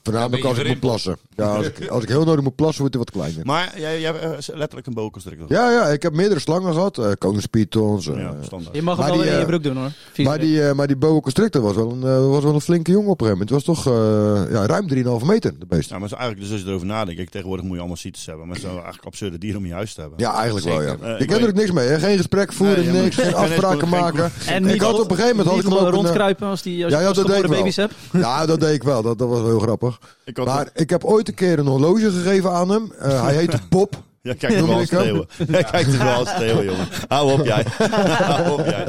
Voornamelijk
beetje
als ik moet
verrimpeld.
plassen. Ja, als ik, als ik heel nodig moet plassen, wordt hij wat kleiner.
Maar jij, jij hebt eh, letterlijk een boa constrictor.
Ja, ja, ik heb meerdere slangen gehad. eh koningspythons. eh,
Ja, standaard.
Je mag hem
Maar
wel
die,
weer in je
eh,
broek doen hoor. Vies
maar,
idee.
die, eh, maar die boa constrictor was wel een, eh, was wel een flinke jongen op een gegeven moment. Het was toch eh, ja, ruim 3,5 meter, de beest.
Ja, maar zo eigenlijk, dus als je erover nadenkt, kijk, tegenwoordig moet je allemaal CITES hebben. Maar het zijn eigenlijk absurde dieren om je huis te hebben.
Ja, eigenlijk wel, ja.
Zeker.
Eh,
ik
ik
ken er ook
weet-
niks mee, hè. Geen gesprek voeren,
<laughs> Nee, ja, maar-
niks. Geen
Geen
afspraken
geen-
maken.
En
ik had op een gegeven moment... Had ik
niet
hem ook een, eh,
rondkruipen als die als
Ja,
je
ja, dat deed
pasgeboren
ik wel.
baby's hebt.
Ja, dat deed ik wel. Dat, dat was wel heel grappig.
Ik had
Maar ik heb ooit een keer een horloge gegeven aan hem.
<laughs>
Eh, hij heette Bob.
Ja, kijk er wel als
Doe ik
steeuwen. Ja, kijk er wel als steeuwen, jongen. Hou
<laughs>
op jij. Hou op jij.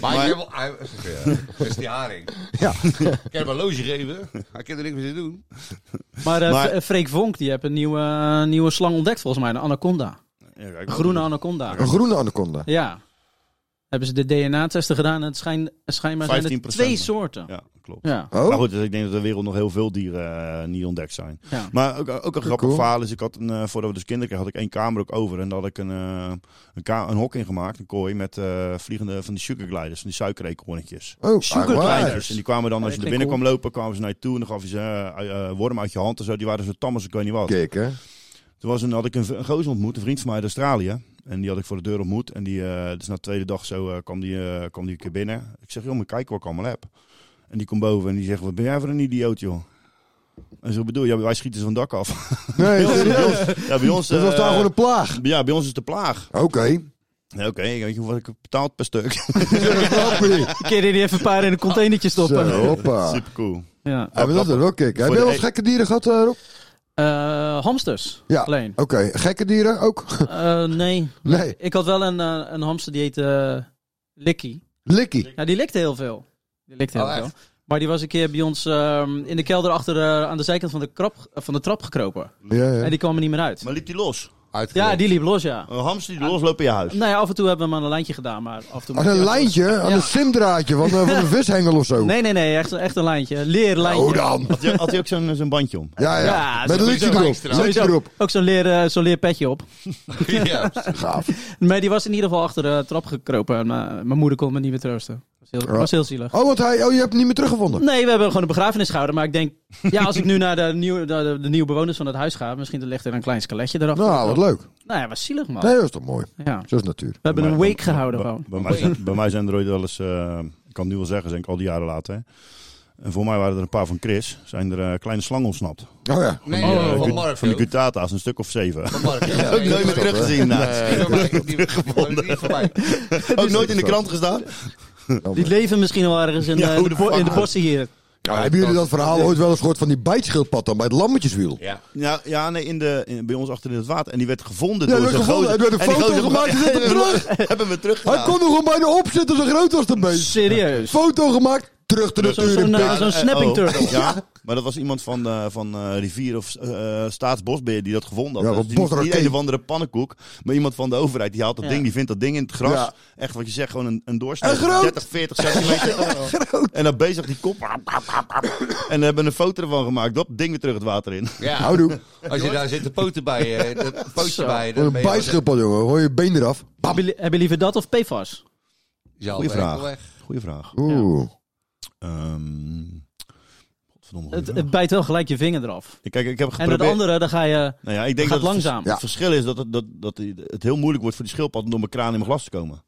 Maar je wil... hij- Ja, dat is die haring.
Ja.
Ik kan hem een loge geven. Hij kan er niks meer in doen.
Maar, eh,
Maar-
Fre- Freek Vonk die heeft een nieuwe, eh, nieuwe slang ontdekt volgens mij. Een anaconda.
Ja, kijk,
Een groene anaconda.
Een groene anaconda.
Ja. Hebben ze de DNA-testen gedaan en het schijn, schijnbaar zijn er
15%
twee
maar.
soorten. Ja.
Ja, klopt.
Ja.
Maar
Oh?
goed, dus ik denk dat de wereld nog heel veel dieren eh, niet ontdekt zijn. Maar ook, ook een grappig
Cool.
verhaal is, ik had een, eh, voordat we dus kinderen kregen, had ik één kamer ook over. En daar had ik een, eh, een, ka- een hok in gemaakt, een kooi, met eh, vliegende van die sugargliders, van die suikereekhoornetjes.
Oh,
Kleintjes.
sugargliders.
En die kwamen dan,
Ja,
als je
dat
er binnen
klinkt
kwam lopen, kwamen ze naar je toe. En dan gaf je ze eh, eh, worm uit je hand en zo. Die waren zo tam als ik weet niet wat.
Kijk, hè.
Toen was een, had ik een, v- een gozer ontmoet, een vriend van mij uit Australië. En die had ik voor de deur ontmoet. En die, eh, dus na de tweede dag zo eh, kwam, die, eh, kwam die een keer binnen. Ik zeg, joh, maar kijk wat ik allemaal heb. En die komt boven en die zegt, wat ben jij voor een idioot, joh. En zo bedoel je, ja, wij schieten ze van het dak af.
Nee,
<laughs>
serieus.
ja, bij ons,
dat was
eh,
daar gewoon een plaag.
ja, bij ons is het de plaag.
Oké.
<laughs> Ja, Oké, ik weet je hoeveel ik heb betaald per stuk?
Grappie.
Een keer die even een paar in een containertje stoppen.
Zo,
<laughs>
hoppa.
Super cool.
Ja.
Ja, maar dat is wel kick. Heb
Voor
je
de
wel
e-
eens gekke dieren gehad, eh, Rob?
Eh, hamsters
Ja. <laughs>
alleen.
Oké, gekke dieren ook?
Eh, nee.
Nee.
Ik had wel een, eh, een hamster die heette eh, Likkie.
Likkie.
Ja, die likte heel veel. Die likte heel
Oh,
veel. Maar die was een keer bij ons ehm, in de kelder achter eh, aan de zijkant van de, krap, van de trap gekropen.
Ja, ja.
En die kwam er niet meer uit.
Maar liep die los?
Uitgelegd.
Ja, die liep los, ja.
Een hamster die loslopen in je huis?
Nou ja, af en toe hebben we hem aan een lijntje gedaan, maar af en toe...
Aan een lijntje, aan
Ja.
een simdraadje van, eh, van
<laughs>
een vishengel of zo.
Nee, nee, nee, echt, echt een lijntje. Een leerlijntje.
Oh dan.
Had hij- Had hij ook zo'n zo'n bandje om?
Ja, ja.
Ja,
Met een
sowieso
likje erop.
extra.
Likje
Sowieso.
erop.
Ook zo'n leer, eh, zo'n leerpetje op.
Ja.
Gaaf.
Maar die was in ieder geval achter de trap gekropen. En, eh, mijn moeder kon me niet meer troosten. Dat was heel, was heel zielig.
Oh, want hij, oh, je hebt hem niet meer teruggevonden.
Nee, we hebben gewoon een begrafenis gehouden. Maar ik denk, ja, als ik nu naar de, nieuwe, naar de, de nieuwe bewoners van het huis ga, misschien ligt er een klein skeletje erachter.
Nou, wat leuk.
Nou ja, was zielig, man.
Nee, dat is toch mooi.
Ja.
Zo is natuur.
We hebben een
Bij-
wake gehouden
bij-
gewoon.
Bij, mij zijn, bij mij zijn er ooit wel eens, eh, ik kan het nu wel zeggen, denk ik al die jaren later. Hè. En voor mij waren er een paar van Chris, zijn er eh, kleine slangen ontsnapt. Van
Oh ja.
Nee,
die,
eh,
eh,
van
gut-
Mark.
Van de Gutata's, een stuk of zeven. <laughs>
Ook
nooit meer teruggezien, inderdaad. Ook nooit in de krant gestaan.
Oh,
Die leven misschien wel ergens in,
Ja,
eh,
hoe
de,
de
bo- in de
fuck?
bossen hier.
Ja, hebben jullie dat verhaal ooit wel eens gehoord van die bijtschildpad dan bij het lammetjeswiel?
Ja.
Ja, ja nee, in de, in- bij ons achter in het water. En die werd gevonden
Ja,
door
werd
zijn
gevonden.
gozer.
Er werd een
En die
foto
gozer-
gemaakt en zet
<laughs>
hem terug.
Hebben we terug
Hij kon er gewoon bijna op zitten, zo groot was de beest.
Serieus.
Foto gemaakt, terug de
Zo'n eh,
natuur
zo
in.
zo'n snapping turtle.
eh, oh. Ja, maar dat was iemand van, eh, van eh, Rivier of eh, Staatsbosbeheer die dat gevonden had.
Ja,
dat
wat
is niet-
bosraket.
niet een of andere pannenkoek, maar iemand van de overheid. Die haalt dat
Ja.
ding, die vindt dat ding in het gras.
Ja.
Echt wat je zegt, gewoon een, een doorsnee.
En groot.
30, 40
<laughs>
centimeter. En dan bezig die kop. En we hebben een foto ervan gemaakt. Dat ding weer terug het water in.
Ja.
Houdoe.
Als je daar zit de poten bij, hè, de
Zo.
poten bij,
Wat
dan
een
ben je
bijtschildpad, jongen. Hoor je been eraf. Bam.
Hebben jullie- hebben jullie liever dat of PFAS?
Ja,
Goeie
weg,
vraag.
weg.
Goeie vraag.
Oeh.
Ehm, godverdomme, goeie
Het,
vraag.
het bijt wel gelijk je vinger eraf.
Kijk, ik heb
En
geprobeerd...
het andere, dan ga je...
Nou ja, ik denk dat het
gaat
vers-
langzaam.
Het verschil is dat het, dat, dat het heel moeilijk wordt voor die schildpad om door mijn kraan in mijn glas te komen.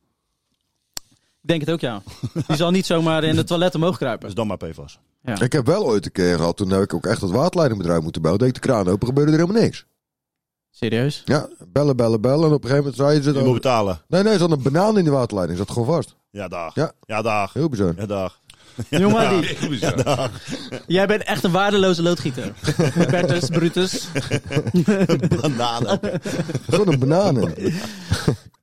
Ik denk het ook, ja. Die zal niet zomaar in het toilet omhoog kruipen.
Dus dan maar PFAS.
Ik heb wel ooit een keer gehad, toen heb ik ook echt het waterleidingbedrijf moeten bellen. Deed ik de kraan open, gebeurde er helemaal niks.
Serieus?
Ja, bellen, bellen, bellen. En op een gegeven moment zeiden ze
Je moet
dan...
betalen.
Nee, nee, er zat een banaan in die waterleiding. Zat gewoon vast.
Ja, dag.
Ja.
Ja, dag.
Heel bizar.
Ja, dag.
Jongen, die, jij bent echt een waardeloze loodgieter. Bertus, Brutus.
<laughs> Bananen.
Gewoon een banaan. in.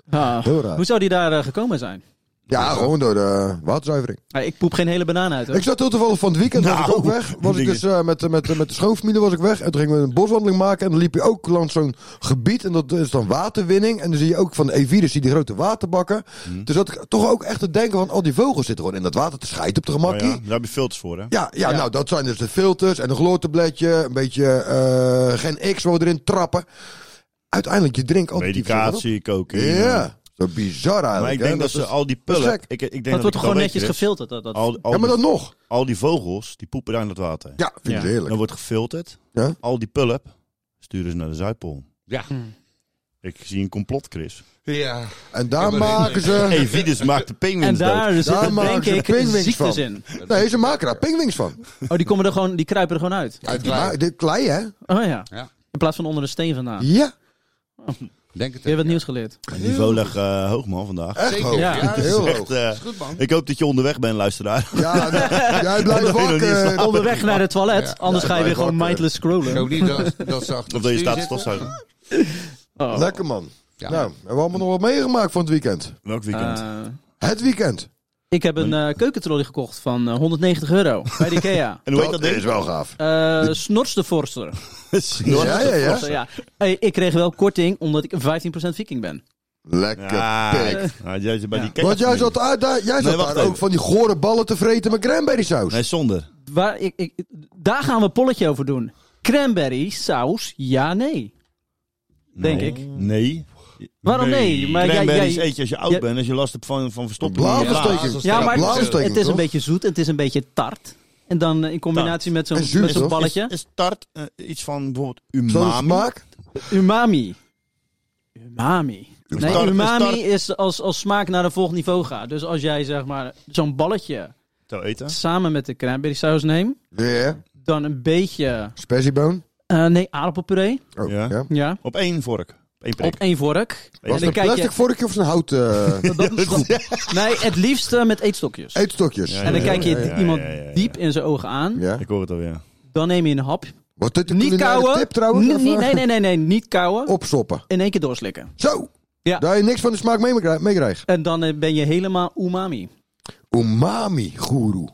Ah,
Heel raar.
Hoe zou die daar eh, gekomen zijn?
Ja, gewoon door de waterzuivering.
Ah, ik poep geen hele banaan uit, hoor.
Ik zat heel toevallig van het weekend, was ik
Nou,
ook weg. Was ik
dingen.
dus eh, met, met, met de schoonfamilie was ik weg. En toen gingen we een boswandeling maken. En dan liep je ook langs zo'n gebied. En dat is dan waterwinning. En dan zie je ook van de Evirus die grote waterbakken.
Hmm.
Dus dat ik toch ook echt te denken van... Al die vogels zitten gewoon in dat water te scheiden op de
Maar
gemakkie.
ja, daar heb je filters voor, hè?
Ja, ja, nou dat zijn dus de filters en een gloortabletje, een beetje eh geen X wat we erin trappen. Uiteindelijk, je drinkt altijd die
Medicatie, koken.
verschillende- Ja, zo bizar eigenlijk.
Maar ik
hè,
denk dat
is-
ze al die
dat is
pullen...
gek.
Ik, ik denk
dat wordt
ik
toch gewoon
wel
netjes
weet, Chris,
gefilterd? Dat, dat.
Al, al,
Ja, maar
die,
dan nog.
al die vogels, die poepen daar in het water.
Ja, vind ik
Ja.
heerlijk.
Dan wordt gefilterd.
Ja.
Al die pulp sturen ze naar de Zuidpool.
Ja.
Ik zie een complot, Chris.
Ja.
En daar
Ja, maar-
maken
<laughs>
ze...
Evidus maakt de
<laughs> en
pinguïns dood.
daar zitten
maken
denk
ze
ik
pinguïns
ziektes
van.
in.
Nee, ze maken daar pingwings van.
Oh, die, komen er gewoon, die kruipen er gewoon uit.
Ja,
Uit
die
klei.
ma- de klei, hè?
Oh ja.
Ja.
In plaats van onder de steen vandaan. Je
Ja.
Denk het
hebt wat nieuws geleerd.
En niveau leg eh, hoog, man, vandaag.
Echt
Zeker.
hoog.
Ja.
Ja,
Heel
Echt,
hoog.
eh,
is goed, man.
ik hoop dat je onderweg bent, luisteraar. <laughs>
Ja, nee, jij blijft
Omdat je nog niet
wakker.
slaapt.
Onderweg naar het toilet,
Ja.
anders
Ja,
ga je weer
blijf
gewoon
wakker.
mindless
Ik
scrollen.
hoop niet dat, dat ze achter
Of
het
dat je
stuur
staat te
zitten.
stofzuigen.
Oh.
Lekker, man.
Ja.
Nou, hebben we allemaal nog wat meegemaakt van het weekend?
Welk weekend?
Eh,
Het weekend.
ik heb een eh keukentrolley gekocht van eh, 190 euro bij de Ikea.
en hoe heet dat
is
ding?
wel gaaf.
Eh Snorstervorster.
Snor.
Ja, ja, ja.
Forster, ja. Eh, ik kreeg wel korting omdat ik 15% viking ben.
Lekker pik.
Ja, jij zit bij die
Want jij
kekkerfamilie.
zat, ah, daar, jij zat
wacht
daar
even.
ook van die gore ballen te vreten met cranberry saus.
Nee, zonder.
Waar, ik, ik, daar gaan we een polletje over doen. Cranberry saus, ja, nee. Denk ik.
Nee.
Waarom nee? Maar jij-
Cranberries
jij-
eet je als je oud
jij-
bent, als je last hebt van, van verstopping. in je blaas.
Blauwversteking.
Ja, maar het,
blauwversteking,
het is een
toch?
beetje zoet, het is een beetje tart. En dan eh, in combinatie met
En
zo'n
zuur,
met zo'n
toch?
balletje.
Is, is tart eh, iets van bijvoorbeeld
Zo'n
umami?
smaak?
Umami. Umami. Nee,
Start- start-
umami is als, als smaak naar een volgend niveau gaat. Dus als jij zeg maar zo'n balletje
Zo eten.
samen met de cranberry saus neemt,
Ja,
dan een beetje,
Spazieboon.
eh, nee, aardappelpuree,
Oh,
Ja.
ja.
ja,
Op één vork. Op één prik.
op één vork.
Was het een
kijk je-
plastic vorkje of een hout <laughs> eh,
Dat, nee, het liefst eh, met eetstokjes.
eetstokjes?
Ja,
en dan
ja,
kijk je
ja, ja,
iemand
ja, ja, ja.
diep in zijn ogen aan.
Ja.
Ik hoor het alweer.
Dan neem je een hap.
Wordt dit een
Niet
culinaire
kauwen.
tip trouwens?
Niet-
Of,
niet-
eh, <laughs>
nee, nee, nee, nee, niet kauwen.
Oh.
Opstoppen.
In één keer doorslikken.
Zo!
Ja.
Daar je niks van de smaak mee meekrijgt- meekrijgt.
En dan eh, ben je helemaal umami.
Umami-goeroe.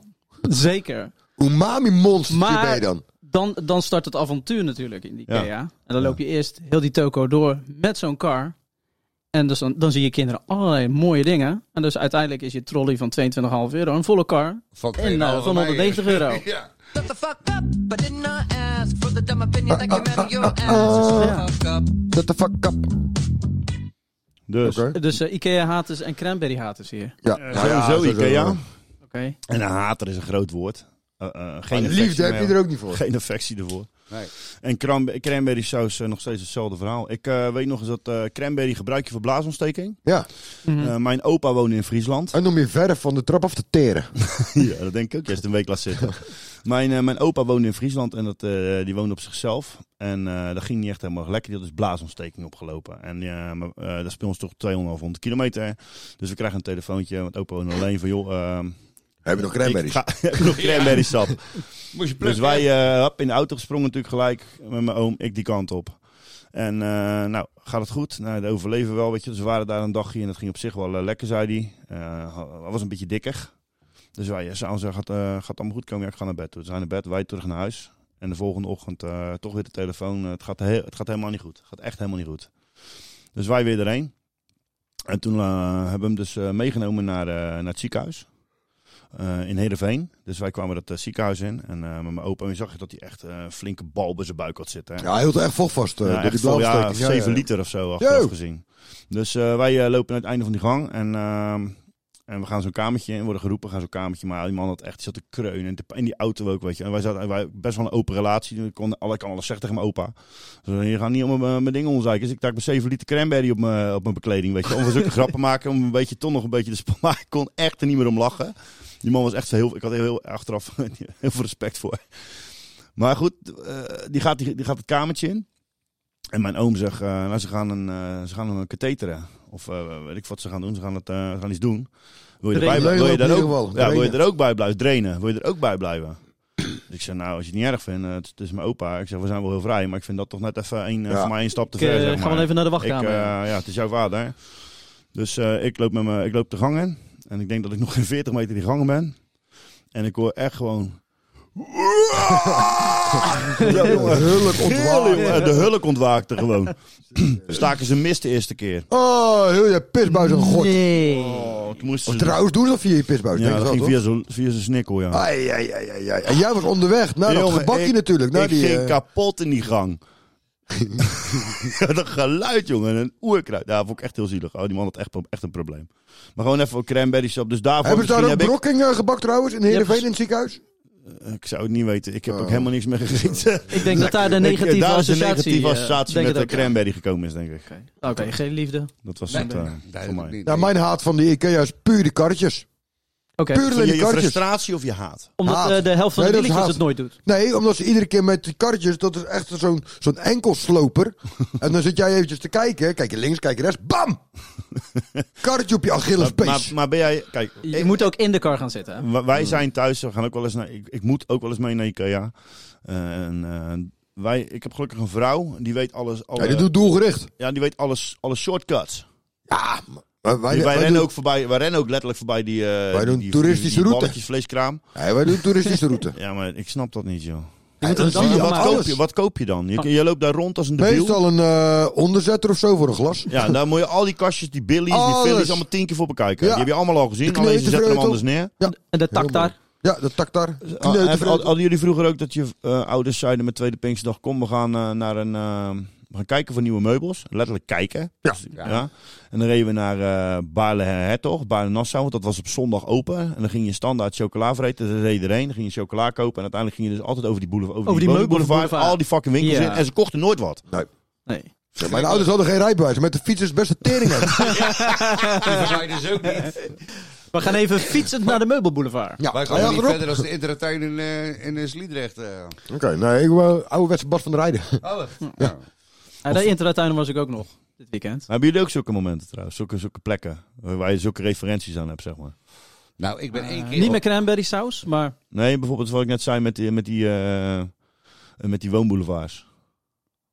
Zeker.
Umami-monster
Maar-
ben je dan.
Dan, dan start het avontuur natuurlijk in die
Ja.
IKEA. En dan loop je eerst heel die toko door met zo'n car. En dus dan, dan zie je kinderen allerlei mooie dingen. En dus uiteindelijk is je trolley van 22,5 euro een volle car.
Van,
En eh, van 190 euro.
<laughs> Ja.
Shut the fuck up. I did not ask for the dumb opinion that came out of your
ah,
ass. Shut the fuck up.
Shut the fuck up.
Dus.
Oké.
Dus eh, IKEA-haters en cranberry-haters hier.
Ja.
Eh,
Ja, ja,
sowieso Ikea.
Oké.
En een hater is een groot woord. Eh, eh, geen
Maar
affectie
liefde heb
meer.
je er ook niet voor.
Geen affectie ervoor.
Nee.
En cran- cranberry saus eh, nog steeds hetzelfde verhaal. Ik eh, weet nog eens dat eh, cranberry gebruik je voor blaasontsteking.
Ja.
Mhm.
Eh, mijn opa woonde in Friesland.
En om je verf van de trap af te teren.
<laughs> Ja, dat denk ik ook. Eerst een week laat zitten. mijn, eh, mijn opa woonde in Friesland en dat, eh, die woonde op zichzelf. En eh dat ging niet echt helemaal lekker. Die had dus blaasontsteking opgelopen. En ja, maar, eh, dat is bij ons toch 200 kilometer. Dus we krijgen een telefoontje, want opa woonde alleen van... joh, ehm,
Heb je nog
Ik
cranberries?
ga- <laughs> heb nog cranberry sap.
Moest je
Dus wij eh, hap in de auto gesprongen natuurlijk gelijk met mijn oom, ik die kant op. En eh, nou, gaat het goed? Nou, de overleven wel, weet je. Dus we waren daar een dagje en dat ging op zich wel eh, lekker, zei hij. Eh, Hij was een beetje dikker. Dus wij eh, s'avonds eh, gaat, eh, gaat allemaal goed komen. Ja, ik ga naar bed. Toen zijn we naar bed, wij terug naar huis. En de volgende ochtend eh, toch weer de telefoon. Eh, het, gaat heel, het gaat helemaal niet goed. Het gaat echt helemaal niet goed. Dus wij weer erheen. En toen eh, hebben we hem dus eh, meegenomen naar, eh, naar het ziekenhuis. Eh, in Heerenveen. Dus wij kwamen dat eh, ziekenhuis in. En eh, met mijn opa en je zag je dat hij echt eh, een flinke bal bij zijn buik had zitten. hè.
Ja, hij hield er echt vochtvast. vast. eh,
Ja,
door
echt
die
vol, ja,
blauwversteking. Ja,
7
ja.
liter of zo, achteraf
Yo.
gezien. Dus eh, wij eh, lopen naar het einde van die gang. En, ehm, en we gaan zo'n kamertje in, worden geroepen, gaan zo'n kamertje. Maar die man had echt, die zat te kreunen. En te- in die auto ook, weet je. En wij zaten wij, best wel een open relatie. dus Ik kon, alle- ik kan alles zeggen tegen mijn opa. Dus je gaat niet om mijn, mijn dingen omzeiken. Dus ik dacht mijn 7 liter cranberry op mijn, op mijn bekleding, weet je. Om we zulke <laughs> grappen maken, om een beetje, toch nog een beetje de sp- Maar ik kon echt er niet meer om lachen. Die man was echt heel... Ik had heel, heel achteraf <laughs> heel veel respect voor. Maar goed, eh, die, gaat, die, die gaat het kamertje in. En mijn oom zegt, eh, nou, ze gaan een, eh, ze gaan een katheteren. Of eh, weet ik wat ze gaan doen. Ze gaan, het, eh, ze gaan iets doen. Wil je, erbij,
Drainen.
bl- wil, je
Leunen
daar
op ieder
ook,
geval.
ja, wil je
Drainen.
er ook bij blijven? Drainen. Wil je er ook bij blijven? <clears throat> Dus ik zeg, nou, als je het niet erg vindt, eh, het, het is mijn opa. Ik zeg, we zijn wel heel vrij, maar ik vind dat toch net even één, eh,
Ja.
voor mij één stap te
Ik
ver.
eh,
zeg
ga
maar.
wel even naar de
Ik,
wachtkamer.
eh, ja, het is jouw vader. Dus eh, ik, loop met me, ik loop de gang in. En ik denk dat ik nog geen 40 meter die gangen ben. En ik hoor echt <laughs> gewoon... Zo, jongen.
Hulk
Gillen,
ontwaakt.
jongen. De hulk ontwaakte gewoon. Staken ze mist de eerste keer.
Oh, heel je pisbuis een god.
Nee.
Oh, toen moesten
Of
ze...
trouwens, doen ze dat via je pisbuis?
ja,
denk
dat
ik
ging
wel, toch?
via zo'n via zo'n snikkel, ja.
Ai, ai, ai, ai, ai. En jij was onderweg naar dat
Jongen,
gebakje
ik-
natuurlijk. Naar
ik
die,
ging
eh,
kapot in die gang. <laughs> dat geluid, jongen. Een oerkruid. Ja, vond ik echt heel zielig. Oh, die man had echt, echt een probleem. Maar gewoon even cranberry sap. Dus daarvoor
Hebben ze daar
misschien
ook
heb ik-
brokking eh, gebakt trouwens? In Heerenveen
Ja,
in het ziekenhuis?
Ik zou het niet weten. Ik heb
Oh.
ook helemaal niks meer
<laughs>
gegeten.
Ik denk dat daar de
Ik-
negatieve
daar is een
associatie...
negatieve
eh,
associatie
denk
met
het
de
ook.
cranberry gekomen is, denk ik.
Oké, Oké, geen liefde. Oké,
Dat was
Nee,
het
nee,
eh,
nee,
voor
duidelijk
mij.
niet.
Ja, Nou, mijn haat van die IKEA is puur de karretjes. Puur
Vond
alleen de
je je
karretjes.
frustratie of je haat?
omdat
Haat.
eh, de helft van
Nee,
de
dat is
diertjes
haat.
het nooit doet.
Nee, omdat ze iedere keer met die karretjes, dat is echt zo'n zo'n enkelsloper. en dan zit jij eventjes te kijken. Kijk je links, kijk je rechts. Bam! Karretje op je
Maar, maar,
Achillespees.
maar ben jij... Kijk,
Je
ik-
moet ook in de car gaan zitten. hè?
W- Wij
Hmm.
zijn thuis, we gaan ook wel eens naar. Ik, ik moet ook wel eens mee naar Ikea. Eh, en, eh, wij, ik heb gelukkig een vrouw die weet alles. Alle,
Ja, die doet doelgericht.
ja, die weet alles, alle shortcuts.
Ja, maar wij,
Die- wij, rennen
doen,
ook voorbij, wij rennen ook letterlijk voorbij die, eh,
doen
die,
toeristische
die, die
route.
balletjes vleeskraam.
Nee, wij doen toeristische route.
Ja, maar ik snap dat niet, joh.
moet
dan
het
zie
dan
je
ook
wat,
maar
koop
alles.
je, wat koop je dan? Je, je loopt daar rond als een debiel.
Meestal een eh, onderzetter of zo voor een glas.
Ja, en daar moet je al die kastjes, die billies,
Alles.
die fillies, allemaal tien keer voor bekijken.
Ja.
Die heb je allemaal al
De
gezien, alleen ze zetten hem
kneutenvreutel.
anders neer.
En de tak
Heel mooi.
daar. Eh,
Ja, de taktar.
Ah, even, had-
Kneutenvreutel.
hadden jullie vroeger ook dat je eh, ouders zeiden met Tweede Pinksterdag... kom, we gaan eh, naar een... eh, we gaan kijken voor nieuwe meubels. Letterlijk kijken.
Ja.
Dus, ja. En dan reden we naar eh Baarle-Hertog, Baarle-Nassau. Want dat was op zondag open. En dan ging je standaard chocola vreten. Dan reed je erheen. Dan ging je chocola kopen. En uiteindelijk ging je dus altijd over die, boulevard, over
Over
die,
die
meubel- boulevard,
boulevard.
Al die fucking winkels
Ja.
in. En ze kochten nooit wat.
Nee.
Mijn ouders hadden geen rijbewijs. Met de fiets is best een tering uit.
dus ook niet.
We gaan even fietsend naar de meubelboulevard.
Ja,
Wij
hij
gaan
had
niet
erop.
verder als de Intertuin in, eh, in eh, Sliedrecht. eh.
Oké, nee, ik wou ouderwetse Bas van der Rijden.
Oh,
Ja, de internetuinen was ik ook nog dit weekend.
Maar hebben jullie ook zulke momenten trouwens? Zulke, zulke plekken eh, waar je zulke referenties aan hebt, zeg maar.
Nou, ik ben één keer...
Eh, Niet met cranberry saus, maar
Nee, bijvoorbeeld wat ik net zei met die, met die, eh, eh, met die woonboulevards.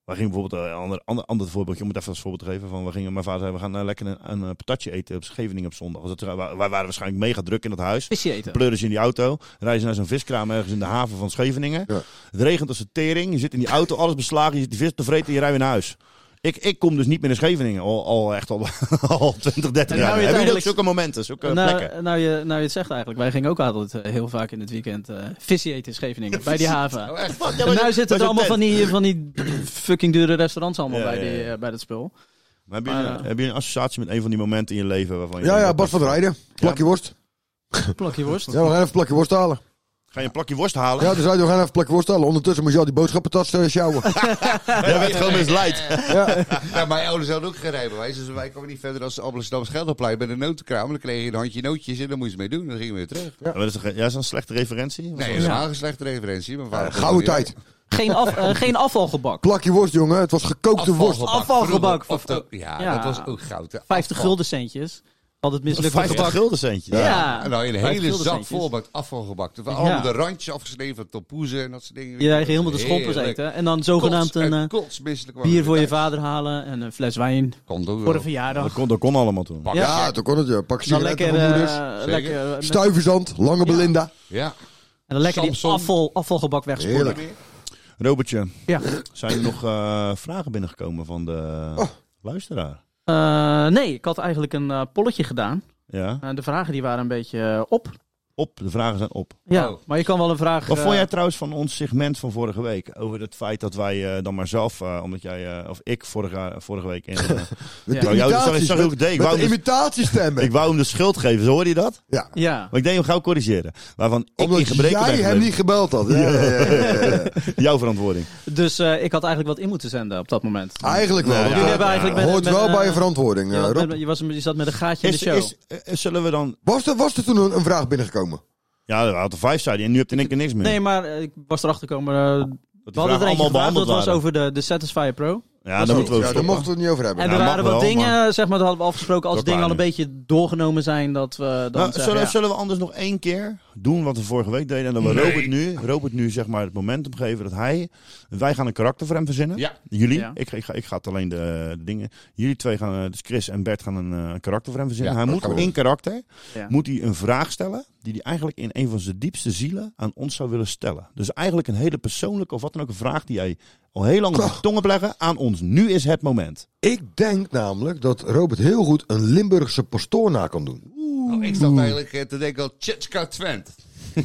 Waar ging bijvoorbeeld eh, een ander, ander, ander voorbeeldje, om het even als voorbeeld te geven. Van, we gingen, mijn vader zei, we gaan eh, lekker een, een eh, patatje eten op Scheveningen op zondag. Dus dat, wij, wij waren waarschijnlijk mega druk in dat huis.
visje eten.
Pleuren ze in die auto, rijden ze naar zo'n viskraam ergens in de haven van Scheveningen.
Ja.
Het regent als een tering, je zit in die auto, alles beslagen, je zit die vis te vreten en je rijdt weer naar huis. Ik, ik kom dus niet meer naar Scheveningen, al, al echt al, <laughs> al 20, 30
En
jaar. Hebben
nou je
jullie ook
eigenlijk-
zulke momenten, zulke plekken?
Nou, nou, je, nou je het zegt eigenlijk, wij gingen ook altijd eh, heel vaak in het weekend eh visje eten in Scheveningen, bij die haven.
Oh, echt?
Ja,
En
maar-
nu zitten
maar
er
zo'n
allemaal
tent.
van die, van die fucking dure restaurants allemaal
Ja,
bij,
ja,
die,
ja.
eh, bij dat spul.
Maar hebben, jullie,
Maar, eh,
hebben jullie een associatie met een van die momenten in je leven waarvan je
Ja,
denkt
ja,
dat
Bas van der Rijden. Plakje worst.
Plakje worst.
Ja, we gaan even plakje worst halen.
Ga je een plakje worst halen?
Ja, dus zei hij, we gaan even plakje worst halen. Ondertussen moet je al die boodschappentas eh, sjouwen.
<laughs> Jij bent gewoon
<laughs>
misleid.
Nou, mijn ouders hadden ook geen rijbewijs. Dus wij kwamen niet verder als Amsterdam Scheldeplein bij de notenkraam. Dan kreeg je een handje nootjes en dan moest je mee doen. Dan gingen we weer terug.
Ja, maar dat is toch- ja, is dat een slechte referentie?
Nee, dat is een geslechte referentie. Mijn vader
Gouden tijd.
Geen, af, eh, geen afvalgebak.
Plakje worst, jongen. Het was gekookte worst.
Afvalgebak.
Vroeger, of dat- ja,
Ja.
dat was ook goud. hè.
50
Afval.
gulden centjes. Had het mislukt.
50 gulden centjes.
Ja.
En dan een
50
hele
gulden
zak
centjes.
vol met afvalgebak. Er waren allemaal
Ja.
de randjes afgesneden van tompoezen en dat soort dingen.
Je eigen helemaal de schompers
Heerlijk.
eten. En dan zogenaamd
Kots-
een
en
eh,
kotsmisselijk waren
bier
we
voor je
thuis.
vader halen en een fles wijn
Komt ook
voor
wel.
een verjaardag.
Dat, kon, dat kon allemaal toen.
Pak-
Ja, toen kon het, ja.
Nou,
Pak
Dan
sigaretten
lekker,
van moeders.
eh,
Zeker.
lekker, met-
Stuiverzand, lange Belinda.
Ja.
en dan lekker die
Samson.
afval, afvalgebak wegspoelen.
Heerlijk.
Robertje,
Ja.
zijn er nog eh, vragen binnengekomen van de
Oh.
luisteraar?
Eh, nee, ik had eigenlijk een eh, polletje gedaan.
Ja,
Eh, de vragen die waren een beetje eh, op.
op. De vragen zijn op.
Ja,
Oh.
maar je kan wel een vraag...
Wat
eh,
vond jij trouwens van ons segment van vorige week? Over het feit dat wij eh, dan maar zelf, eh, omdat jij, eh, of ik vorige, vorige week... In,
<laughs>
eh,
Met de
Nou,
Ja.
jou- sorry,
imitaties.
sorry,
Met,
ik deed. Ik
met
wou
de
hem dus-
imitatiestemmen.
ik wou hem de schuld geven, zo hoorde je dat?
Ja.
Ja.
Maar ik deed hem gauw corrigeren. Waarvan ik in
Omdat
gebreken ben
jij hem
gebleven.
niet gebeld had. Ja, ja, ja, ja, ja.
Jouw verantwoording.
Dus eh, ik had eigenlijk wat in moeten zenden op dat moment.
Eigenlijk wel.
Nee,
want
jullie
je-
hebben
eigenlijk met-
hoort
met
wel
een,
bij je
eh,
verantwoording,
je,
eh,
was
Ah, Rob.
met, je was een- je zat met een gaatje
Is,
in de show.
is, eh, zullen we dan...
Was er, was er toen een, een vraag binnengekomen?
Ja, we hadden vijf zei hij en nu heb je in één keer niks meer.
nee, maar eh, ik was erachter gekomen. eh,
dat
we
Hmm. Oh, die
hadden er
vragen
eentje
allemaal
gevraagd.
behandeld
Dat was
waren.
over de, de Satisfyer Pro.
Ja, daar moeten we
ja,
over
daar
stoppen.
mochten we het niet over hebben.
En
nou,
er
mag
waren wat
wel,
dingen, zeg maar, dat hadden we afgesproken. Als
Dat
dingen al een
waren.
beetje doorgenomen zijn, dat we dan
Nou,
zeggen,
zullen,
ja.
zullen we anders nog één keer doen wat we vorige week deden? En dan we Robert nu, Robert nu zeg maar het momentum geven dat hij... Wij gaan een karakter voor hem verzinnen.
Ja.
Jullie.
Ja.
Ik, ga- ik, ga, ik ga het alleen de, de dingen... Jullie twee gaan, eh, dus Chris en Bert gaan een eh, karakter voor hem verzinnen.
Ja,
hij
dat
moet
gaan we
in karakter
Ja.
moet hij een vraag stellen... die hij eigenlijk in een van zijn diepste zielen aan ons zou willen stellen. Dus eigenlijk een hele persoonlijke of wat dan ook een vraag... die hij al heel lang op de tong hebt leggen aan ons. Nu is het moment.
Ik denk namelijk dat Robert heel goed een Limburgse pastoor na kan doen.
Nou, ik zat eigenlijk eh, te denken al
<laughs>
Tjitska Twent. <laughs>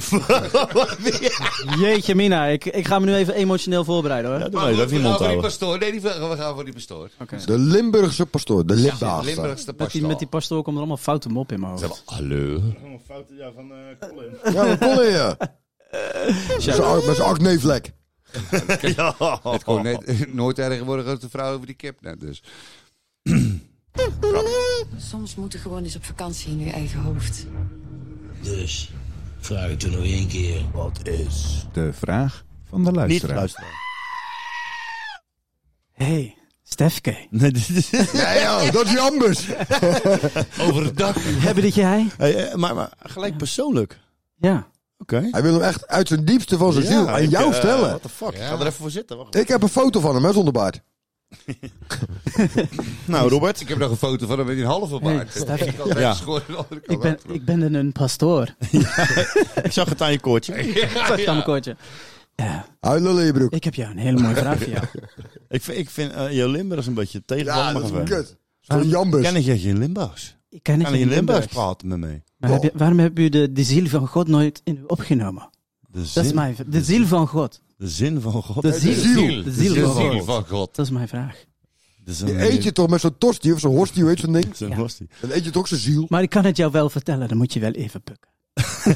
Jeetje mina, ik, ik ga me nu even emotioneel voorbereiden hoor.
Ja, doe
Maar
maar even,
goed,
even je
we gaan
mond
voor die
houden.
pastoor. Nee, die, we gaan voor die pastoor.
Oké.
De Limburgse pastoor, de
Ja,
Limburgse.
Limburgste
Met, die,
pastoor.
met die pastoor komt er allemaal foute mop in mijn hoofd.
Hallo.
van eh,
ja, wat kon je? Met zijn ar- met zijn akneevlek.
Het kon net, <laughs> nooit erger worden als de vrouw over die kip net dus.
Soms moeten gewoon eens op vakantie in je eigen hoofd.
Dus vraag het er nog één keer. Wat is
De vraag van de
Niet
luisteraar.
luisteren.
hey,
<laughs>
Stefke.
Nee, dit is-
Nee,
<laughs>
joh, dat is Jambus.
Hebben dit jij?
Hey, eh, maar, maar gelijk persoonlijk.
Ja.
Oké.
Hij wil hem echt uit zijn diepste van zijn ziel aan jou stellen.
eh, What the fuck? Ik ga er even voor zitten. Wacht.
Ik heb een foto van hem, hè, zonder baard.
Nou, Robert.
Ik heb nog een foto van hem met die halve baard.
Hey, Stef.
Ik kan
Ja.
rechts gooien, de andere kant <laughs>
Ik ben,
achterop.
<laughs>
ik ben een pastoor.
Ik zag het aan je koortje.
Zag je aan mijn koortje. Ja,
Huilen in je broek.
ik heb jou een hele mooie vraag voor jou.
<laughs> Ik vind, ik vind eh, Jo Limburg is een beetje
Ja, dat
tegenvallig.
is een kut. Zo'n jambus.
Ken ik je in Limburgs?
Ik ken het
Kan je in Limburgs
Limburg.
praten met mij?
Maar heb je- waarom heb je de, de ziel van God nooit in u opgenomen?
De
Dat is
zin,
mijn v- De ziel van God.
de zin van God.
De ziel.
ziel.
De ziel van
ziel
God.
van God.
Dat is mijn vraag.
Dat is
Die
een-
eet je toch met zo'n tosti of zo'n horstie, weet je zo'n ding?
Zo'n
Ja.
hostie.
Dan eet je toch zijn ziel.
Maar ik kan het jou wel vertellen, dan moet je wel even pukken.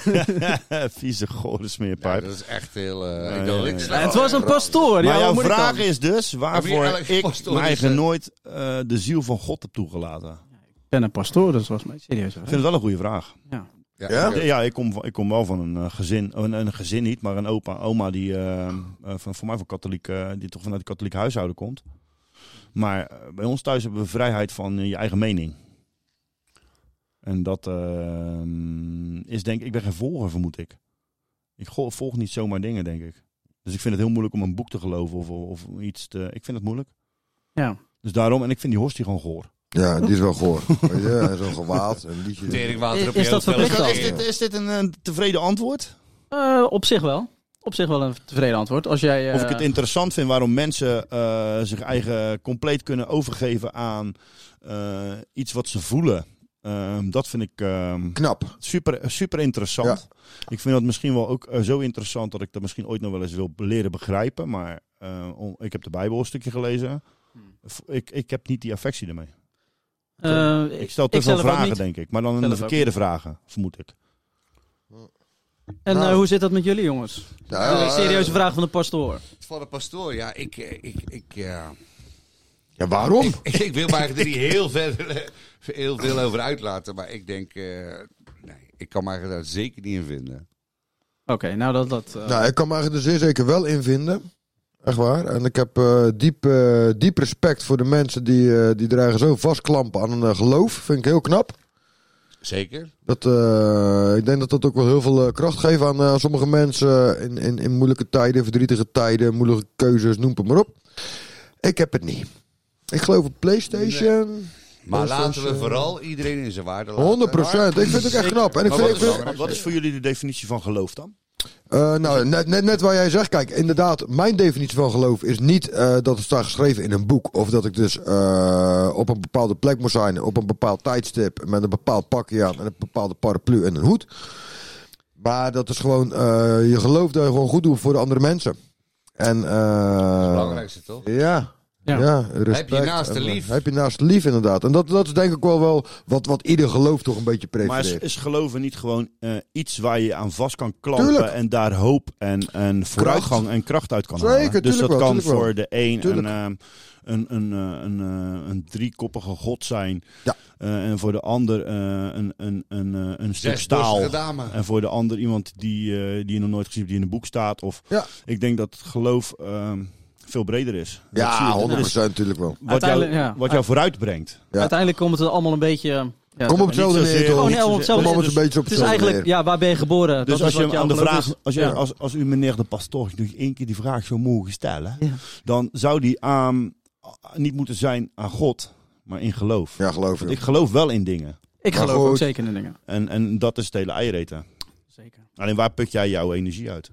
<laughs> Vieze gore
Ja,
smeerpijp.
dat is echt heel... eh,
Nee,
ik wil
nee,
niks
nee.
zeggen.
het was een pastoor.
maar
Ja,
jouw
hoe moet ik
vraag
dan?
is dus waarvoor
elke
ik
pastoor
mijn
is,
eigen
eh,
nooit eh, de ziel van God heb toegelaten.
Ik ben een pastoor, dus dat was mijn serieus. hoor.
Ik vind het wel een goede vraag.
Ja?
oké.
Ja, ik kom, van- ik kom wel van een eh, gezin, een, een gezin niet, maar een opa, oma die eh, eh, van, voor mij van katholiek, eh, die toch vanuit het katholiek huishouden komt. Maar eh, bij ons thuis hebben we vrijheid van eh, je eigen mening. En dat eh, is denk ik, ik ben geen volger vermoed ik. Ik go- volg niet zomaar dingen denk ik. Dus ik vind het heel moeilijk om een boek te geloven of, of iets te, ik vind het moeilijk.
Ja.
Dus daarom, en ik vind die hostie gewoon goor.
Ja, die is wel
<laughs>
goor. Weet je, hij is wel gewaad. Een liedje.
Teringwater op
Is
je
dat
hoofd,
verplicht
wel eens
dan?
Dus Is dit, is
een keer.
dit een, een tevreden antwoord?
Eh, op zich wel. Op zich wel een tevreden antwoord. Als jij, eh,
Of ik het interessant vind waarom mensen eh, zich eigen compleet kunnen overgeven aan eh, iets wat ze voelen. Ehm, dat vind ik ehm,
Knap.
super, super interessant. Ik vind dat misschien wel ook eh, zo interessant dat ik dat misschien ooit nog wel eens wil leren begrijpen. Maar eh, om- ik heb de Bijbel een stukje gelezen.
Hmm.
V- Ik, ik heb niet die affectie ermee.
eh,
Ik stel te veel
zelf ook
vragen,
niet.
denk ik. Maar dan
Zelf
de
ook
verkeerde vragen, vermoed ik.
En eh,
Nou.
hoe zit dat met jullie, jongens?
Ja,
Een serieuze
eh,
vraag van de pastoor.
Van eh, de pastoor, ja. Ik, eh, ik, ik, eh,
Ja, waarom?
ik, <laughs> ik wil me eigenlijk er niet heel, ver, heel veel over uitlaten. Maar ik denk... eh, nee, ik kan me eigenlijk daar zeker niet in vinden.
Oké, nou dat... dat eh,
Nou, ik kan me eigenlijk er zeer zeker wel in vinden. Echt waar. En ik heb eh, diep, eh, diep respect voor de mensen die, eh, die er eigenlijk zo vastklampen aan een eh, geloof. Vind ik heel knap.
Zeker?
Dat, eh, ik denk dat dat ook wel heel veel eh, kracht geeft aan eh, sommige mensen in, in, in moeilijke tijden, verdrietige tijden, moeilijke keuzes, noem het maar op. Ik heb het niet. Ik geloof op PlayStation.
Maar
Dat is
laten we
dus, eh,
vooral iedereen in zijn waarde laten.
100 procent. Ik vind het ook echt knap. En ik
Maar
vind,
wat
ik
is
vind-
dat?
Wat is voor jullie de definitie van geloof dan?
Eh, nou, net, net, net waar jij zegt, kijk, inderdaad, mijn definitie van geloof is niet eh, dat het staat geschreven in een boek. Of dat ik dus eh, op een bepaalde plek moet zijn, op een bepaald tijdstip, met een bepaald pakje aan en een bepaalde paraplu en een hoed. Maar dat is gewoon, eh, je geloof dat je gewoon goed doet voor de andere mensen. En,
Het
eh
belangrijkste, toch?
ja.
Ja.
Ja. respect.
Heb je naast de
En, eh,
lief.
Heb je naast de lief, inderdaad. En dat, dat is denk ik wel, wel wat, wat ieder geloof toch een beetje
Maar is,
prefereert.
is geloven niet gewoon eh, iets waar je aan vast kan klampen
Tuurlijk.
en daar hoop en, en vooruitgang en kracht uit kan
Zeker,
halen? Dus
tuurlijk
dat
wel,
kan
tuurlijk wel.
voor de een een,
Tuurlijk.
ehm, een, een, eh, een, eh, een driekoppige god zijn
Ja.
Eh, en voor de ander eh, een, een, een, eh, een stuk
Zes
staal.
borstige dame.
En voor de ander iemand die, eh, die je nog nooit gezien hebt, die in een boek staat. Of
Ja.
Ik denk dat geloof ehm, veel breder is. Dat zie je.
Ja, 100%
Dat is
natuurlijk wel.
Wat jou,
Uiteindelijk, ja.
wat jou vooruitbrengt.
Ja.
Uiteindelijk komt het allemaal een beetje... eh, Ja,
Kom op hetzelfde
zozeer- Oh,
neer, toch?
Gewoon helemaal op
Kom
hetzelfde
op
neer. Dus-
het een beetje op
Nou, Het is
hetzelfde
eigenlijk,
neer.
ja, waar ben je
Dus
geboren? dat
als
is
je
wat
hem aan de
jouw geloof
vraag,
is.
als, je,
Ja.
als, als u meneer de pastoor nog één keer die vraag zou mogen stellen,
Ja.
dan zou die aan, niet moeten zijn aan God, maar in geloof.
Ja, geloof
Want
je.
ik geloof wel in dingen.
Ik
Maar
geloof
Nou,
goed.
ook zeker in dingen.
En, en dat is het hele eireten.
Zeker.
Alleen waar put jij jouw energie uit?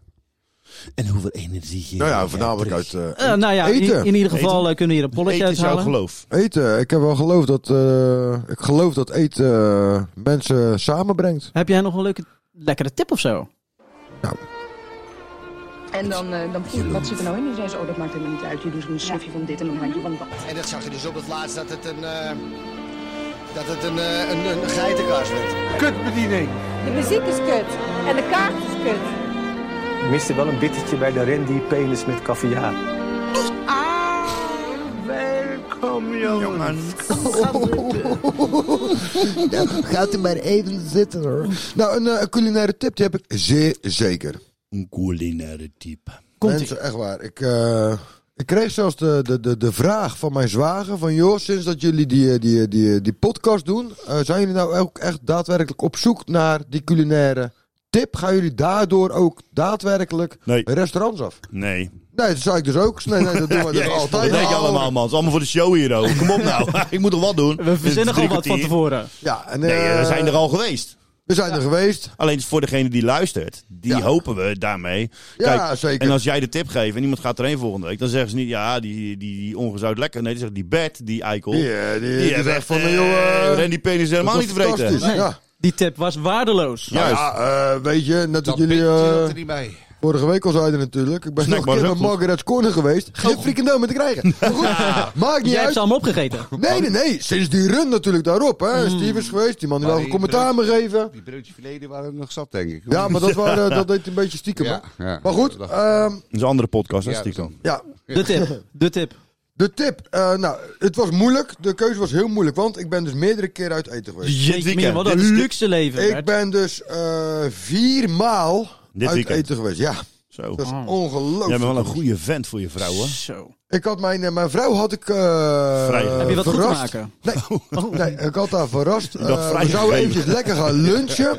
En hoeveel energie geef
Nou
jij
ja, voornamelijk
terug?
uit eh,
Eh, nou ja, in,
Eten.
in ieder geval
Eten.
eh, kunnen we hier een polletje
Eten is jouw
uithalen.
geloof.
eten. Ik heb wel geloof dat, eh, ik geloof dat eten eh, mensen samenbrengt.
Heb jij nog een leuke, lekkere tip of zo?
En dan, eh, dan voel ik, wat zit er nou in? Dan zei ze, oh, dat maakt helemaal niet uit. Je doet een snufje van dit en een handje van dat.
En dat zag je dus op het laatst dat het een, eh, dat het een, eh, een, een geitenkaas werd.
De muziek is kut. En de kaart is kut.
Ik miste wel een bittertje bij de Randy Penis met caviar.
gaat u maar even zitten hoor. Nou, een eh, culinaire tip die heb ik zeer zeker.
Een culinaire type.
mensen, echt waar. Ik, eh, ik kreeg zelfs de, de, de, de vraag van mijn zwager van... joh, sinds dat jullie die, eh, die, eh, die, eh, die podcast doen... eh, zijn jullie nou ook echt daadwerkelijk op zoek naar die culinaire tip? Gaan jullie daardoor ook daadwerkelijk
Nee,
restaurants af?
nee.
Nee, dat zei ik dus ook. Nee, nee dat doen
<laughs>
we dus
Jezus,
altijd.
wat denk je
al.
allemaal, man? Het is allemaal voor de show hier, oh. Kom op nou. <laughs> ik moet er wat doen.
We verzinnen
Drie
al wat van
kwartier.
tevoren.
Ja, en,
Nee,
eh,
we zijn er al geweest.
We zijn er geweest.
Alleen voor degene die luistert, die
Ja.
hopen we daarmee.
Ja,
Kijk,
zeker.
En als jij de tip geeft en iemand gaat erheen volgende week, dan zeggen ze niet, ja, die, die, die ongezout lekker. Nee, die zeggen, die bed, die eikel.
Ja, die, eh, die,
hebben
zegt van,
echt, eh,
joh, eh,
Randy Penis is
dat
helemaal
was
niet tevreden.
fantastisch. Ja.
Die tip was waardeloos.
Nou
Juist.
Ja, eh, weet je, net
Dat
dat
jullie,
jullie
zat
eh
er niet bij.
vorige week al zeiden natuurlijk. Ik ben
Snack
nog een
was
keer
ook
bij
goed.
Margaret's Corner geweest. Geen frikandel meer te krijgen. Maar
<laughs>
goed, maakt niet
Jij hebt
uit.
ze allemaal opgegeten.
Nee, nee, nee. Sinds die run natuurlijk daarop. Hè. Steve is geweest. Die man die
Hmm. Maar
wel een
die
commentaar me geven.
Die broodjes verleden waren er nog zat, denk ik.
Ja,
<laughs>
maar dat, waren, eh, dat deed hij een beetje stiekem.
Ja,
hè.
ja.
Maar goed,
Dat-
ehm,
Dat is een andere podcast, hè,
Ja,
stiekem.
dat is
ja,
De
<laughs>
tip. De tip.
de tip. eh, nou, het was moeilijk. De keuze was heel moeilijk. Want ik ben dus meerdere keren uit eten geweest.
Dit
Jeetje,
weekend.
wat een
Dit-
luxe leven.
Ik
Bert.
ben dus eh vier maal
Dit
uit
weekend.
eten geweest. Ja,
Zo.
dat is
Oh.
ongelooflijk.
Jij bent wel een goede vent voor je vrouw, hè?
Zo. <laughs>
Ik had mijn, eh, mijn vrouw had ik eh
Heb
Heb je wat goed te
verrast. <laughs>
maken?
Nee, nee, Oh. ik had haar verrast. Eh,
dacht
we
vrijgegeven.
zouden eventjes lekker gaan lunchen. <laughs>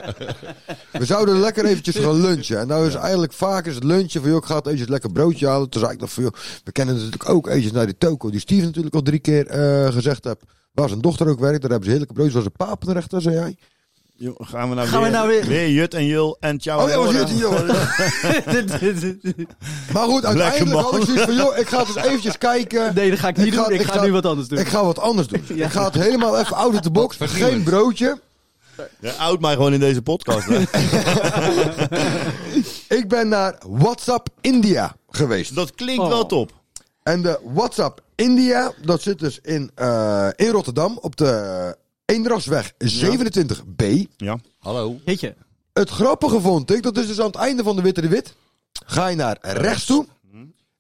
We zouden lekker eventjes gaan lunchen. En nou is eigenlijk vaak is het lunchen van... joh, ik ga het eventjes lekker broodje halen. Toen zei ik nog van... joh, we kennen natuurlijk ook eventjes naar die toko... die Steve natuurlijk al drie keer eh, gezegd heb. Waar zijn dochter ook werkt. Daar hebben ze heerlijke broodjes. Was een papenrechter, zei jij.
Jo, gaan we nou,
Gaan
weer,
we nou weer-
Jut en Jul en ciao.
Oh ja, was
Laura.
het, <laughs> joh. Maar goed, uiteindelijk
man.
had ik zoiets van... joh, ik ga dus eventjes kijken...
Nee, dat ga ik niet
Ik ga-
doen. Ik
ik
ga,
ga-
nu wat anders doen.
Ik ga wat anders
<laughs>
doen. Ik ga het helemaal even out of the box. Geen broodje.
Ja, oud mij gewoon in deze
<laughs>
podcast. Hè.
Ik ben naar WhatsApp India geweest.
dat klinkt
Oh.
wel top.
En de WhatsApp India, dat zit dus in, eh, in Rotterdam op de Eendrachtsweg 27B.
Ja.
Hallo.
Jeetje.
Het grappige vond ik, dat is dus aan het einde van de Witte de Wit. Ga je naar rechts toe.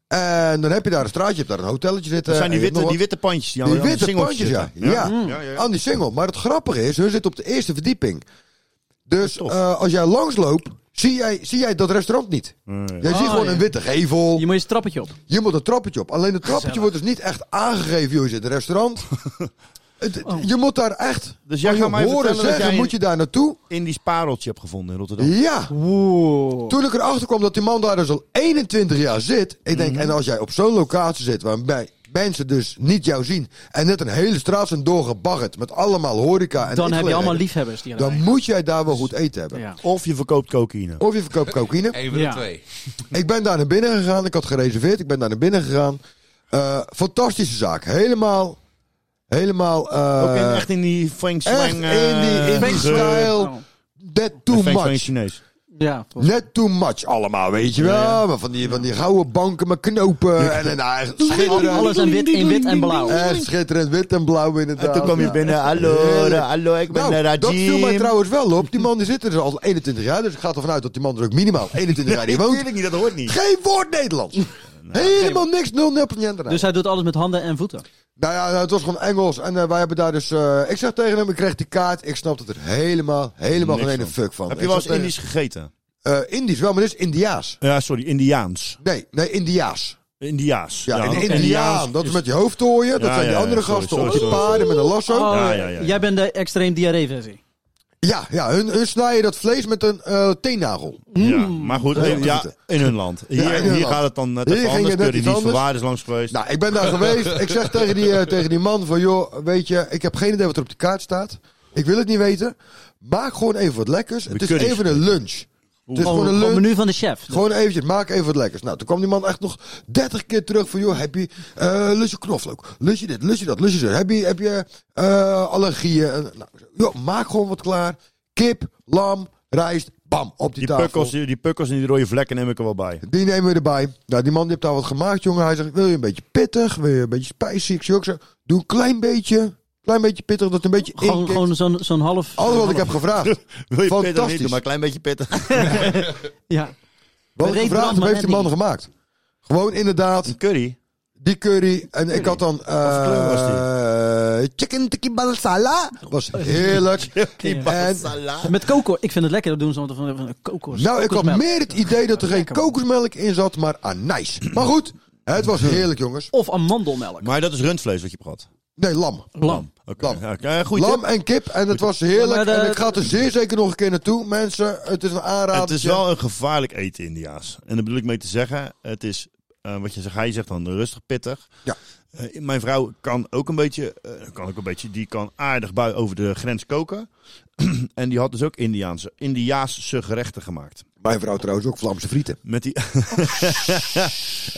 En dan heb je daar een straatje, je hebt daar een hotelletje zitten.
Dat zijn die
en je hebt
witte,
nog Eh, wat.
die witte pandjes. Die,
Die
aan de
witte
singeltjes
pandjes, ja.
zitten.
Ja.
Ja, Mm. ja, ja.
Aan die single. Maar het grappige is, hun zitten op de eerste verdieping. Dus
Tof.
eh, als jij langsloopt, zie jij, zie jij dat restaurant niet.
Nee.
Jij
Ah,
ziet gewoon
ja.
een witte gevel.
Je moet je trappetje op.
Je moet een trappetje op. Alleen het trappetje
Gezellig.
wordt dus niet echt aangegeven. Joh, je zit in een
<laughs>
restaurant. Het- Je moet daar echt
Oh. Dus jij
van
gaat mij
horen
vertellen dat
zeggen,
jij-
moet je daar naartoe?
Indisch pareltje heb gevonden in Rotterdam.
Ja.
Oeh.
Toen ik erachter kwam dat die man daar dus al 21 jaar zit. Ik denk,
Mhm.
en als jij op zo'n locatie zit waarbij mensen dus niet jou zien. En net een hele straat zijn doorgebaggerd met allemaal horeca. En
Dan heb je allemaal
eetgelegenheden,
liefhebbers die
Dan
erbij.
moet jij daar wel goed eten hebben.
Ja.
Of je verkoopt cocaïne.
Of je verkoopt cocaïne.
Eén van
Ja.
de twee.
Ik ben daar naar binnen gegaan. Ik had gereserveerd. Ik ben daar naar binnen gegaan. Eh, fantastische zaak. Helemaal. Helemaal. eh,
Ook in, echt in die Feng eh, Shui.
echt in die- in die stijl.
Oh.
Net too
Feng Shui
much.
Chinees.
Ja, volgens-
Net too much allemaal, weet je wel.
Ja,
Maar van, die, van die gouden banken met knopen. En, en ah, echt schitterend.
alles in wit, in wit en blauw.
Echt schitterend. Wit en blauw inderdaad.
En toen kwam je
Ja.
binnen. Hallo,
Heerlijk.
hallo, ik ben
Nou,
Rajim.
dat viel mij trouwens wel op. Die man die zit er dus al 21 jaar. Dus ik ga ervan uit dat die man er ook minimaal 21 jaar in
<laughs>
woont.
Tuurlijk niet, dat hoort niet. Nou,
Geen woord
<laughs>
Nederlands. Helemaal niks. 0-0
Dus hij doet alles met handen en voeten.
Nou ja, nou, het was gewoon Engels. En eh, wij hebben daar dus... eh, ik zeg tegen hem, ik kreeg die kaart. Ik snapte er helemaal, helemaal
Niks
geen ene
van.
fuck van.
Heb
Ik
je wel eens
zat tegen-
Indisch gegeten?
Eh, Indisch wel, maar dit is Indiaas.
Ja, sorry, Indiaans.
Nee, nee, Indiaas.
Indiaas.
Ja, een
oké.
Indiaan. Dat is met je hoofdtooien. Dat
Ja,
zijn die
ja, ja,
andere
sorry,
gasten
sorry,
op die
sorry.
paarden met een lasso.
Oh,
Ja, ja, ja.
Jij bent de extreem diarree versie.
Ja, ja hun, hun snijden dat vlees met een eh teennagel.
Ja, maar Hmm. goed, in, ja, in hun land. Hier,
in hun
hier
land.
gaat het dan net
Hier
even
ging
anders.
het net
Curry
iets
niet
anders.
verwaard is langs geweest.
Nou, ik ben daar geweest. Ik zeg tegen die, eh, tegen die man van... joh, weet je, ik heb geen idee wat er op de kaart staat. Ik wil het niet weten. Maak gewoon even wat lekkers. Het is
curry's.
even een lunch. Het is gewoon
Gewoon
een
het
lunch.
menu van de chef.
Gewoon eventjes, maak even wat lekkers. Nou, toen kwam die man echt nog 30 keer terug van... joh, heb je eh lusje knoflook? Lusje dit, lusje dat, lusje zo? Heb je, heb je eh, allergieën? En, nou, joh, maak gewoon wat klaar. Kip, lam, rijst, bam, op die,
die,
tafel.
pukkels, die, die pukkels en die rode vlekken neem ik er wel bij.
Die nemen we erbij. Nou, die man die heeft daar wat gemaakt, jongen. Hij zegt, wil je een beetje pittig? Wil je een beetje spicy? Ik zie ook zo, doe een klein beetje. Klein beetje pittig, dat het een Oh. beetje
Gewoon,
inkikt.
gewoon zo'n zo'n half...
Alles wat ik heb gevraagd.
<laughs> Wil je pittig niet
Fantastisch.
doen, maar een klein beetje pittig.
Ja.
Wat ik gevraagd
Reed
heb,
Brandman,
heeft die
hè,
man
die?
gemaakt. Gewoon inderdaad,
Een <laughs> curry.
Die curry. En ik had dan... eh,
kleur was
chicken tikka masala. Was
<laughs>
heerlijk. en,
Met coco. Ik vind het lekker. Dat doen ze altijd van, van kokos.
nou, ik had
kokosmelk.
meer het idee dat er geen
Lekker, man.
kokosmelk in zat, maar anijs. Maar goed, het was heerlijk, jongens.
Of amandelmelk.
Maar dat is rundvlees wat je hebt gehad.
Nee, lam.
Lam.
Oké,
Lam.
ja, oké, ja, goeie
Lam
tip. eh,
en kip. En het was heerlijk.
Maar de-
En ik ga er zeer zeker nog een keer naartoe. Mensen, het is een aanrader.
Het is wel een gevaarlijk eten India's. En daar bedoel ik mee te zeggen, het is eh, eh, wat je zegt, hij zegt dan rustig, pittig.
Ja.
Eh, mijn vrouw kan ook een beetje, eh, kan ook een beetje, die kan aardig bui over de grens koken. <clears throat> en die had dus ook Indiaanse, Indiaanse gerechten gemaakt.
Mijn vrouw trouwens ook Vlaamse frieten.
Met die... <laughs>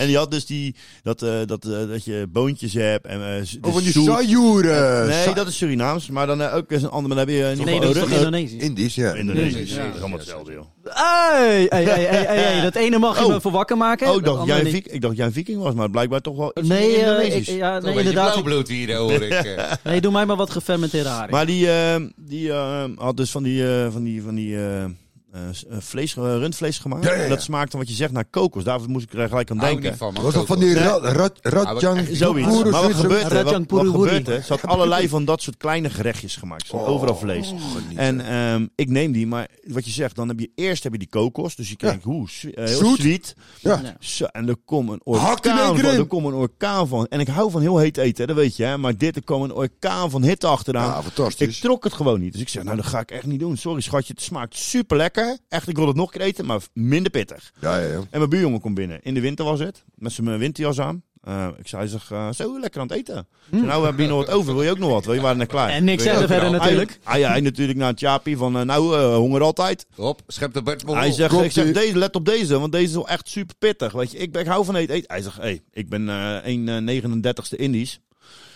en die had dus die, dat, eh, dat, eh, dat je boontjes hebt en eh, z- de
Of Oh, van die
soep.
sajoeren.
Nee, dat is Surinaams, maar dan eh, ook eens een ander, maar dan heb je... eh,
Nee,
nog
dat is
wel
toch
rug-
Indonesië?
Indisch, ja.
Indonesië,
Ja.
dat is allemaal hetzelfde, joh.
Hey, hey, hey, hey, hey, hey, dat ene mag je
Oh.
me voor wakker maken.
Oh,
dat
ik dacht,
andere
jij een
niet.
vik- ik dacht jij een viking was, maar blijkbaar toch wel iets
Nee, eh,
Indonesisch.
ik- ja,
Toch
nee
een beetje
inderdaad.
blauwbloed hier, hoor
<laughs>
ik. eh.
Nee, doe mij maar wat gefermenteerde haring.
Maar die, eh, die eh, had dus van die, eh, van die, van die eh, eh, s- eh, vlees, eh, rundvlees gemaakt.
Ja, ja, ja.
En dat smaakte wat je zegt naar kokos. Daar moest ik er gelijk aan
Hou
denken.
niet van, man.
Was dat van die
Nee.
ra- ra- Radjang?
Zoiets. Maar wat gebeurt er? Wat,
Rajang
wat
Purururi.
gebeurt er? Ze had allerlei van dat soort kleine gerechtjes gemaakt. Ze had
Oh.
overal vlees. en ehm, ik neem die, maar wat je zegt, dan heb je eerst heb je die kokos. Dus je kijkt, hoe zwe- eh, heel
Zoet.
sweet.
Ja.
Nee.
Zo, en er komt een
Hakt in één
orkaan
keer
van.
in.
Er komt een orkaan van. En ik hou van heel heet eten, hè, dat weet je. Hè? Maar dit, er kwam een orkaan van hitte achteraan.
Ja, fantastisch.
Ik trok het gewoon niet. Dus ik zei, nou dat ga ik echt niet doen. Sorry schatje, het smaakt super lekker. Echt, ik wil het nog een keer eten, maar minder pittig.
Ja, ja, ja.
En mijn buurjongen komt binnen. In de winter was het. Met zijn eh, winterjas aan. Eh, ik zei, zeg, eh, zo lekker aan het eten. Ik
Hm.
zei, nou, heb je nog wat over? Wil je ook nog wat? We waren net klaar.
En niks zeggen verder natuurlijk.
Hij, Ah hij, hij natuurlijk naar het Jaapie van, eh, nou, eh, honger altijd.
Hop, schep de
Oh,
Bert
hij zegt,
klopt
ik zeg,
u?
deze, let op deze, want deze is wel echt super pittig. Weet je, ik, ben, ik hou van eten. eten. Hij zegt, hey, ik ben eh 1,39ste Indisch. <laughs>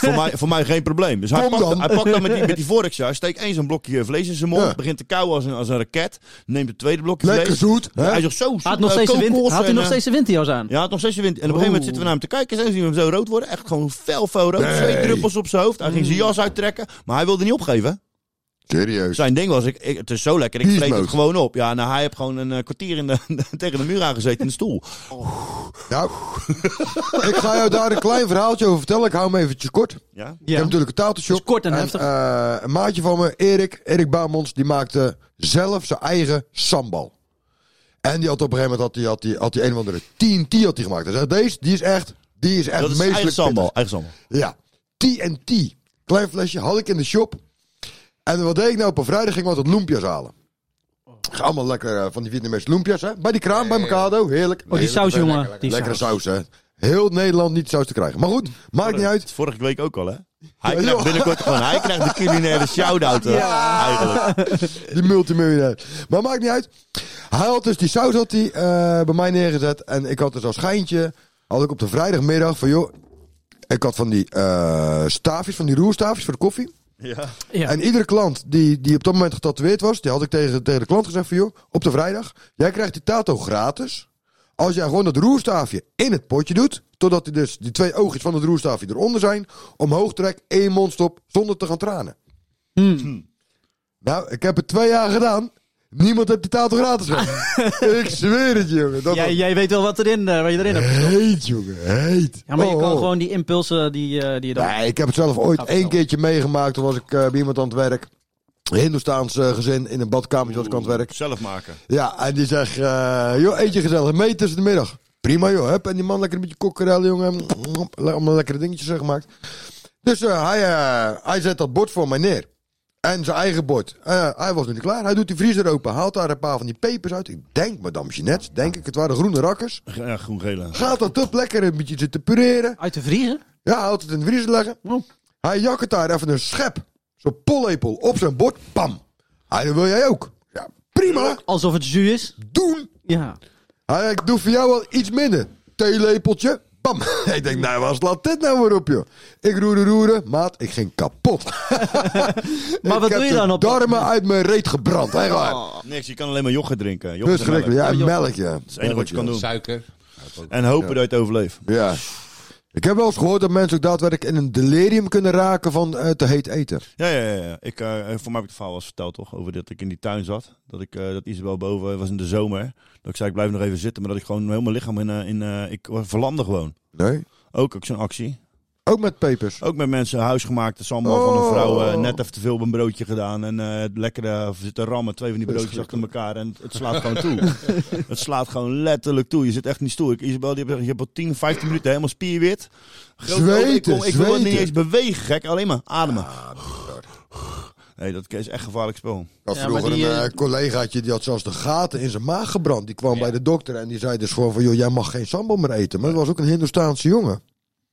voor, mij, voor mij geen probleem. Dus hij
Kom
pakt,
dan.
hij pakt dan met die, met die vorkje, steekt eens een blokje vlees in zijn mond,
Ja.
begint te kauwen als een, als een raket, neemt het tweede blokje
Lekker
vlees.
zoet. Hè?
Hij zegt zo,
Had,
zoet,
nog
eh,
steeds de wind,
kokos
had hij
en,
nog
eh,
steeds de windjas aan?
ja, het had nog steeds de wind. En op een gegeven moment
Oh.
zitten we naar hem te kijken. En zien we hem zo rood worden. Echt gewoon fel, fel rood. Twee druppels op zijn hoofd. Hij ging zijn
Mm.
jas uittrekken. Maar hij wilde niet opgeven.
Serieus.
Zijn ding was, ik, ik- het is zo lekker. Ik
Beast
vreet het
mode.
gewoon op. Ja, nou, hij heeft gewoon een eh, kwartier in de, <laughs> tegen de muur aangezeten in de stoel.
Nou, <laughs> ik ga jou daar een klein verhaaltje over vertellen. Ik hou hem eventjes kort.
Ja?
Ik heb natuurlijk een tattoo
Dus kort en heftig.
een maatje van me, Erik, Erik Baamons, die maakte zelf zijn eigen sambal. En die had op een gegeven moment had die, had die, had die een of andere 10 die had die gemaakt. Hij zei, deze, die is echt, die is echt
Dat is
meestelijk
eigen sambal.
pittig.
Eigen sambal.
Ja, TNT. Klein flesje, had ik in de shop. En wat deed ik nou op een vrijdag? Ging ik wat loempia's halen. Ik ga Allemaal lekker eh, van die Vietnamese loempia's, hè? Bij die kraam, bij Mikado, heerlijk.
Oh, die saus, jongen. die
Lekkere
saus.
saus, hè? Heel Nederland niet saus te krijgen. Maar goed, maakt niet uit.
Vorige week ook al, hè? Hij
Ja,
krijgt
joh.
binnenkort gewoon, hij krijgt de culinaire shout-out. hè, Eigenlijk.
Die multimiljonair. Maar maakt niet uit. Hij had dus die saus had hij, eh, bij mij neergezet. En ik had dus als schijntje. Had ik op de vrijdagmiddag van joh. Ik had van die eh, staafjes, van die roerstaafjes voor de koffie.
Ja.
Ja.
En iedere klant die, die op dat moment getatoeëerd was, die had ik tegen, tegen de klant gezegd van joh, op de vrijdag, jij krijgt die tato gratis. Als jij gewoon dat roerstaafje in het potje doet, totdat die, dus die twee oogjes van het roerstaafje eronder zijn, omhoog trek, één mond stop, zonder te gaan tranen.
Hmm.
Nou, ik heb het twee jaar gedaan. Niemand heeft die tato gratis
<laughs>
gedaan. ik zweer het, jongen. Dat
Jij,
was
jij weet wel wat erin, eh, wat je erin hebt.
heet, jongen, heet.
Ja, maar je
Oh,
kan
oh.
gewoon die impulsen die, eh, die je dan...
Nee, ik heb het zelf ooit
Gaat
één
snel.
keertje meegemaakt. Toen was ik eh, bij iemand aan het werk. Een Hindoestaans eh, gezin in een badkamertje was ik aan het werk.
Zelf maken.
Ja, en die zegt, eh, joh, eentje gezellig mee tussen de middag. Prima joh, heb. En die man lekker een beetje kokkerel, jongen. Mwap, le- Allemaal lekkere dingetjes eh, gemaakt. Dus eh, hij, eh, hij zet dat bord voor mij neer. En zijn eigen bord. Eh, hij was nog niet klaar. Hij doet die vriezer open, haalt daar een paar van die pepers uit. Ik denk, madame Jeanette, denk ik, het waren groene rakkers.
Ja, groen-gele.
Gaat dat op, lekker een beetje zitten pureren.
Uit de vriezer?
Ja, houdt het in de vriezer leggen.
Oh.
Hij jakkert daar even een schep, zo'n pollepel, op zijn bord. Pam. Hij, dat wil jij ook. Ja, prima.
Alsof het jus is?
Doen.
Ja.
Hij, ik doe voor jou wel iets minder. Theelepeltje. Bam. <laughs> ik denk, nou, waar slaat dit nou weer op, joh? Ik roerde, roeren. Maat, ik ging kapot.
Maar wat
ik
doe je
heb
dan
de
op-
darmen uit mijn reet gebrand. Echt waar.
Niks, je kan alleen maar yoghurt drinken. Yoghurt
Dus
en
gelukkig.
melk.
Oh. Ja,
joh.
melk, ja. Dat
is het enige wat je kan doen.
Suiker.
En hopen dat je het overleeft.
Ja. Ik heb wel eens gehoord dat mensen ook daadwerkelijk in een delirium kunnen raken van eh, te heet eten.
Ja, ja, ja, ja. Ik, eh, voor mij heb ik het verhaal wel eens verteld, toch? Over dat ik in die tuin zat. Dat, ik, eh, dat Isabel boven was in de zomer. Dat ik zei, ik blijf nog even zitten. Maar dat ik gewoon heel mijn lichaam in... eh, in eh, ik verlamde gewoon.
Nee.
Ook, ook zo'n actie.
Ook met pepers.
Ook met mensen huisgemaakte sambal van een
Oh.
vrouw. eh, net even te veel op een broodje gedaan. En eh lekker eh, zitten rammen. Twee van die broodjes achter elkaar. En het slaat gewoon toe.
<laughs>
het slaat gewoon letterlijk toe. Je zit echt niet stoel. Ik, Isabel, die heb, je hebt al 10, 15 minuten helemaal spierwit. Grote ogen. ik,
Zweten,
kon- ik wil het niet
zweten.
eens bewegen, gek. Alleen maar ademen. Nee, dat is echt gevaarlijk spel.
Ik had
Ja, maar
vroeger
die,
een
eh,
eh, collegaatje die had zelfs de gaten in zijn maag gebrand. Die kwam bij de dokter en die zei dus gewoon van... joh, jij mag geen sambal meer eten. Maar dat was ook een Hindoestaanse jongen.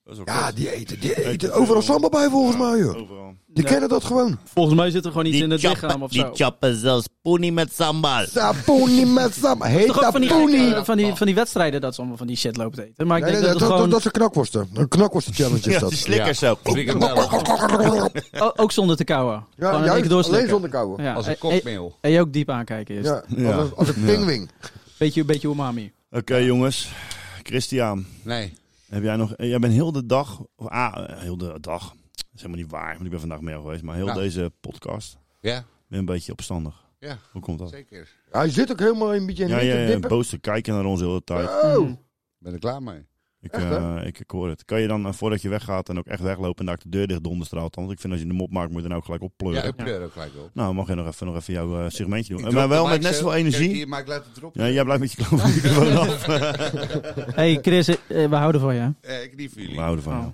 Dat is ook
Ja,
kut.
die eten, die
Eet
eten
het Oh.
overal
veel.
sambal bij volgens mij, joh.
Overal.
Die
Ja.
kennen dat gewoon.
Volgens mij zit er gewoon iets in het
chappen-
lichaam of
die
zo.
chappen zelfs poenie met sambal.
Saponi met sambal. Heet
Toch ook van die, eh,
taponi.
van, die, van die wedstrijden dat ze allemaal van die shit lopen te eten. Maar ik
Nee, nee,
denk
nee, dat,
dat het
dat,
gewoon,
dat zijn knakworsten. Een knakworsten challenge is
Ja,
Dus dat.
die slikkers ook.
<laughs>
Frikandellen.
o- ook zonder te kauwen.
Ja,
gewoon
juist,
even doorslikken.
alleen zonder kauwen.
Ja,
Als een
en-
kopmeel.
En je ook diep aankijken eerst.
Ja,
Ja.
Als, een- als een pingwing.
Beetje, beetje umami.
Oké, jongens. Christian,
Nee.
heb jij nog... Jij bent heel de dag... Of, ah, eh, heel de dag. Dat is helemaal niet waar, want ik ben vandaag meer geweest. Maar heel
Nou.
deze podcast
Ja,
ben een beetje opstandig.
Ja.
Hoe komt dat?
zeker.
Hij zit ook helemaal een beetje in
Ja,
de
ja, ja,
dippen.
boos te kijken naar ons de hele tijd.
Ah,
Oh.
Ben er klaar mee.
Ik,
Echt, hè?
eh, ik, ik hoor het. Kan je dan, eh, voordat je weggaat en ook echt weglopen, en daar de deur dicht donderstraalt? Want ik vind als je de mop maakt, moet je er nou gelijk op
Ja,
pleuren.
ik pleur ook gelijk op.
Nou, mag je nog even, nog even jouw eh, segmentje doen.
Ik
Eh,
drop
maar wel
de mic
met net
zo.
zoveel
Kijk,
energie.
hier, maar ik laat het erop.
Ja, jij blijft met je klote microfoon
<laughs>
af.
hey Chris, eh, we houden van je.
Eh, ik niet voor
We
jullie.
houden van
Oh.
jou.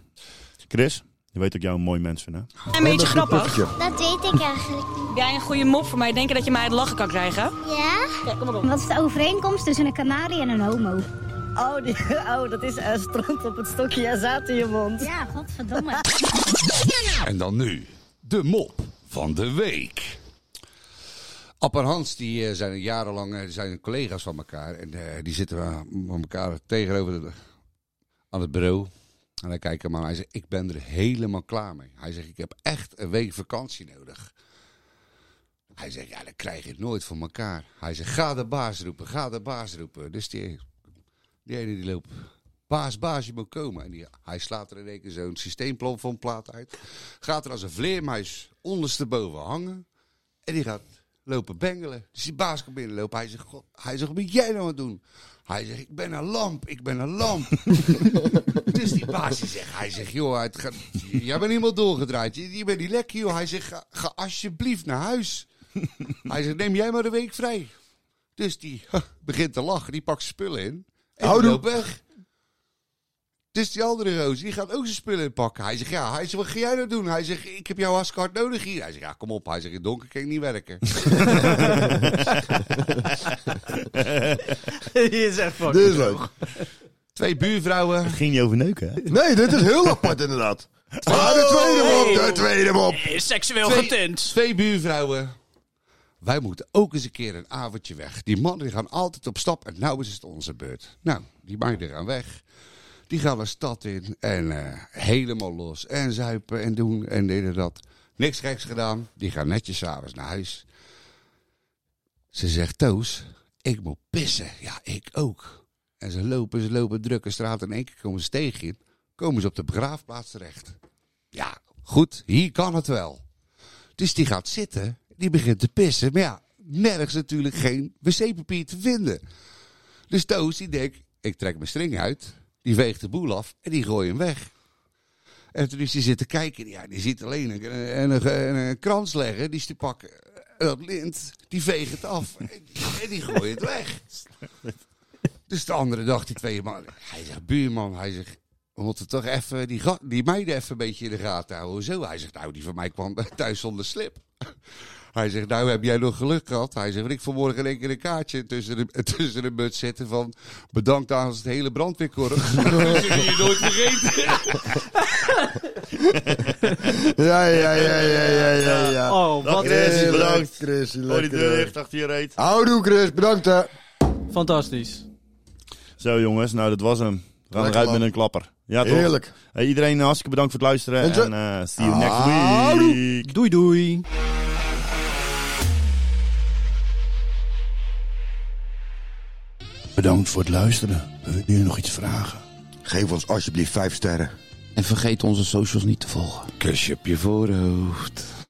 Chris, je weet dat ik jou een mooi mens vind, hè?
Een beetje grappig.
Dat weet ik eigenlijk niet.
Heb jij een goede mop voor mij? Denken dat je mij het lachen kan krijgen?
Ja? Wat is de overeenkomst tussen een kanarie en een homo?
Oh, <laughs> oh dat is strand op het stokje en zaad in je mond.
Ja, godverdomme.
En dan nu, de mop van de week. App en Hans die, eh, zijn jarenlang eh, zijn collega's van elkaar. En eh, die zitten eh, van elkaar tegenover de- aan het bureau. En hij kijkt hem aan. Hij zegt, ik ben er helemaal klaar mee. Hij zegt, ik heb echt een week vakantie nodig. Hij zegt, ja, dat krijg je nooit van elkaar. Hij zegt, ga de baas roepen, ga de baas roepen. Dus die, die ene die loopt, baas, baas, je moet komen. En die, hij slaat er in één keer zo'n systeemplan van plaat uit. Gaat er als een vleermuis ondersteboven hangen. En die gaat lopen bengelen. Dus die baas komt binnenlopen. Hij zegt, God, hij zegt, wat ben jij nou aan het doen? Hij zegt, ik ben een lamp, ik ben een lamp. dus die baas die zegt, hij zegt, joh, het gaat, jij bent helemaal doorgedraaid. Je, je bent niet lekker, joh. Hij zegt, ga, ga alsjeblieft naar huis. hij zegt, neem jij maar een week vrij. Dus die begint te lachen, die pakt spullen in. En die
Houdoe.
loopt weg. Dus die andere roos, die gaat ook zijn spullen pakken. Hij zegt, ja, hij zegt, wat ga jij nou doen? Hij zegt, ik heb jouw haskart nodig hier. Hij zegt, ja, kom op. Hij zegt, in het donker kan ik niet werken.
Die is echt fucking...
Dit is leuk.
Twee buurvrouwen.
Ging je over neuken, hè?
Nee, dit is heel <laughs> apart inderdaad.
Oh!
Ah, de tweede mop, de tweede mop.
seksueel
Twee-
getint.
Twee buurvrouwen. Wij moeten ook eens een keer een avondje weg. Die mannen die gaan altijd op stap en nou is het onze beurt. Nou, die meiden gaan weg. Die gaan de stad in en eh, helemaal los. En zuipen en doen en dit en dat. Niks geks gedaan. Die gaan netjes s'avonds naar huis. Ze zegt, Toos, ik moet pissen. Ja, ik ook. En ze lopen, ze lopen drukke straat. En in één keer komen ze tegen in. Komen ze op de begraafplaats terecht. Ja, goed, hier kan het wel. Dus die gaat zitten, die begint te pissen. Maar ja, nergens natuurlijk geen wc-papier te vinden. Dus Toos die denkt, ik trek mijn string uit, die veegt de boel af en die gooi hem weg. En toen is hij zitten kijken, ja, die ziet alleen een, een, een, een, krans leggen, die is te pakken. En dat lint, die veegt het af en, en die gooit het weg. Dus de andere dag, die twee man, hij zegt, buurman, hij zegt, we moeten toch even die, ga- die meiden even een beetje in de gaten houden. Zo, hij zegt, nou, die van mij kwam <laughs> thuis zonder slip. <laughs> Hij zegt, nou heb jij nog geluk gehad? Hij zegt, want ik vanmorgen in één keer een kaartje tussen de, <laughs> tussen de muts zitten van... Bedankt aan het hele brandweerkorps. Dat zullen je nooit vergeten.
Ja, ja, ja, ja, ja, ja. ja.
Oh,
Dag,
wat
Chris,
Heerlijk,
bedankt.
Chris,
Hoor die deur
lekker.
dicht achter je reet.
Houdoe, Chris. Bedankt, hè.
fantastisch.
Zo, jongens. Nou, dat was hem. We gaan
Lekker
eruit
lang.
met een klapper. Ja, toch?
Heerlijk.
Hey, iedereen, eh, hartstikke bedankt voor het luisteren.
En zo-
En eh, see you next
Houdoe.
week.
Doei doei.
Bedankt voor het luisteren. Wil je nog iets vragen?
Geef ons alsjeblieft vijf sterren.
En vergeet onze socials niet te volgen.
Kusje op je voorhoofd.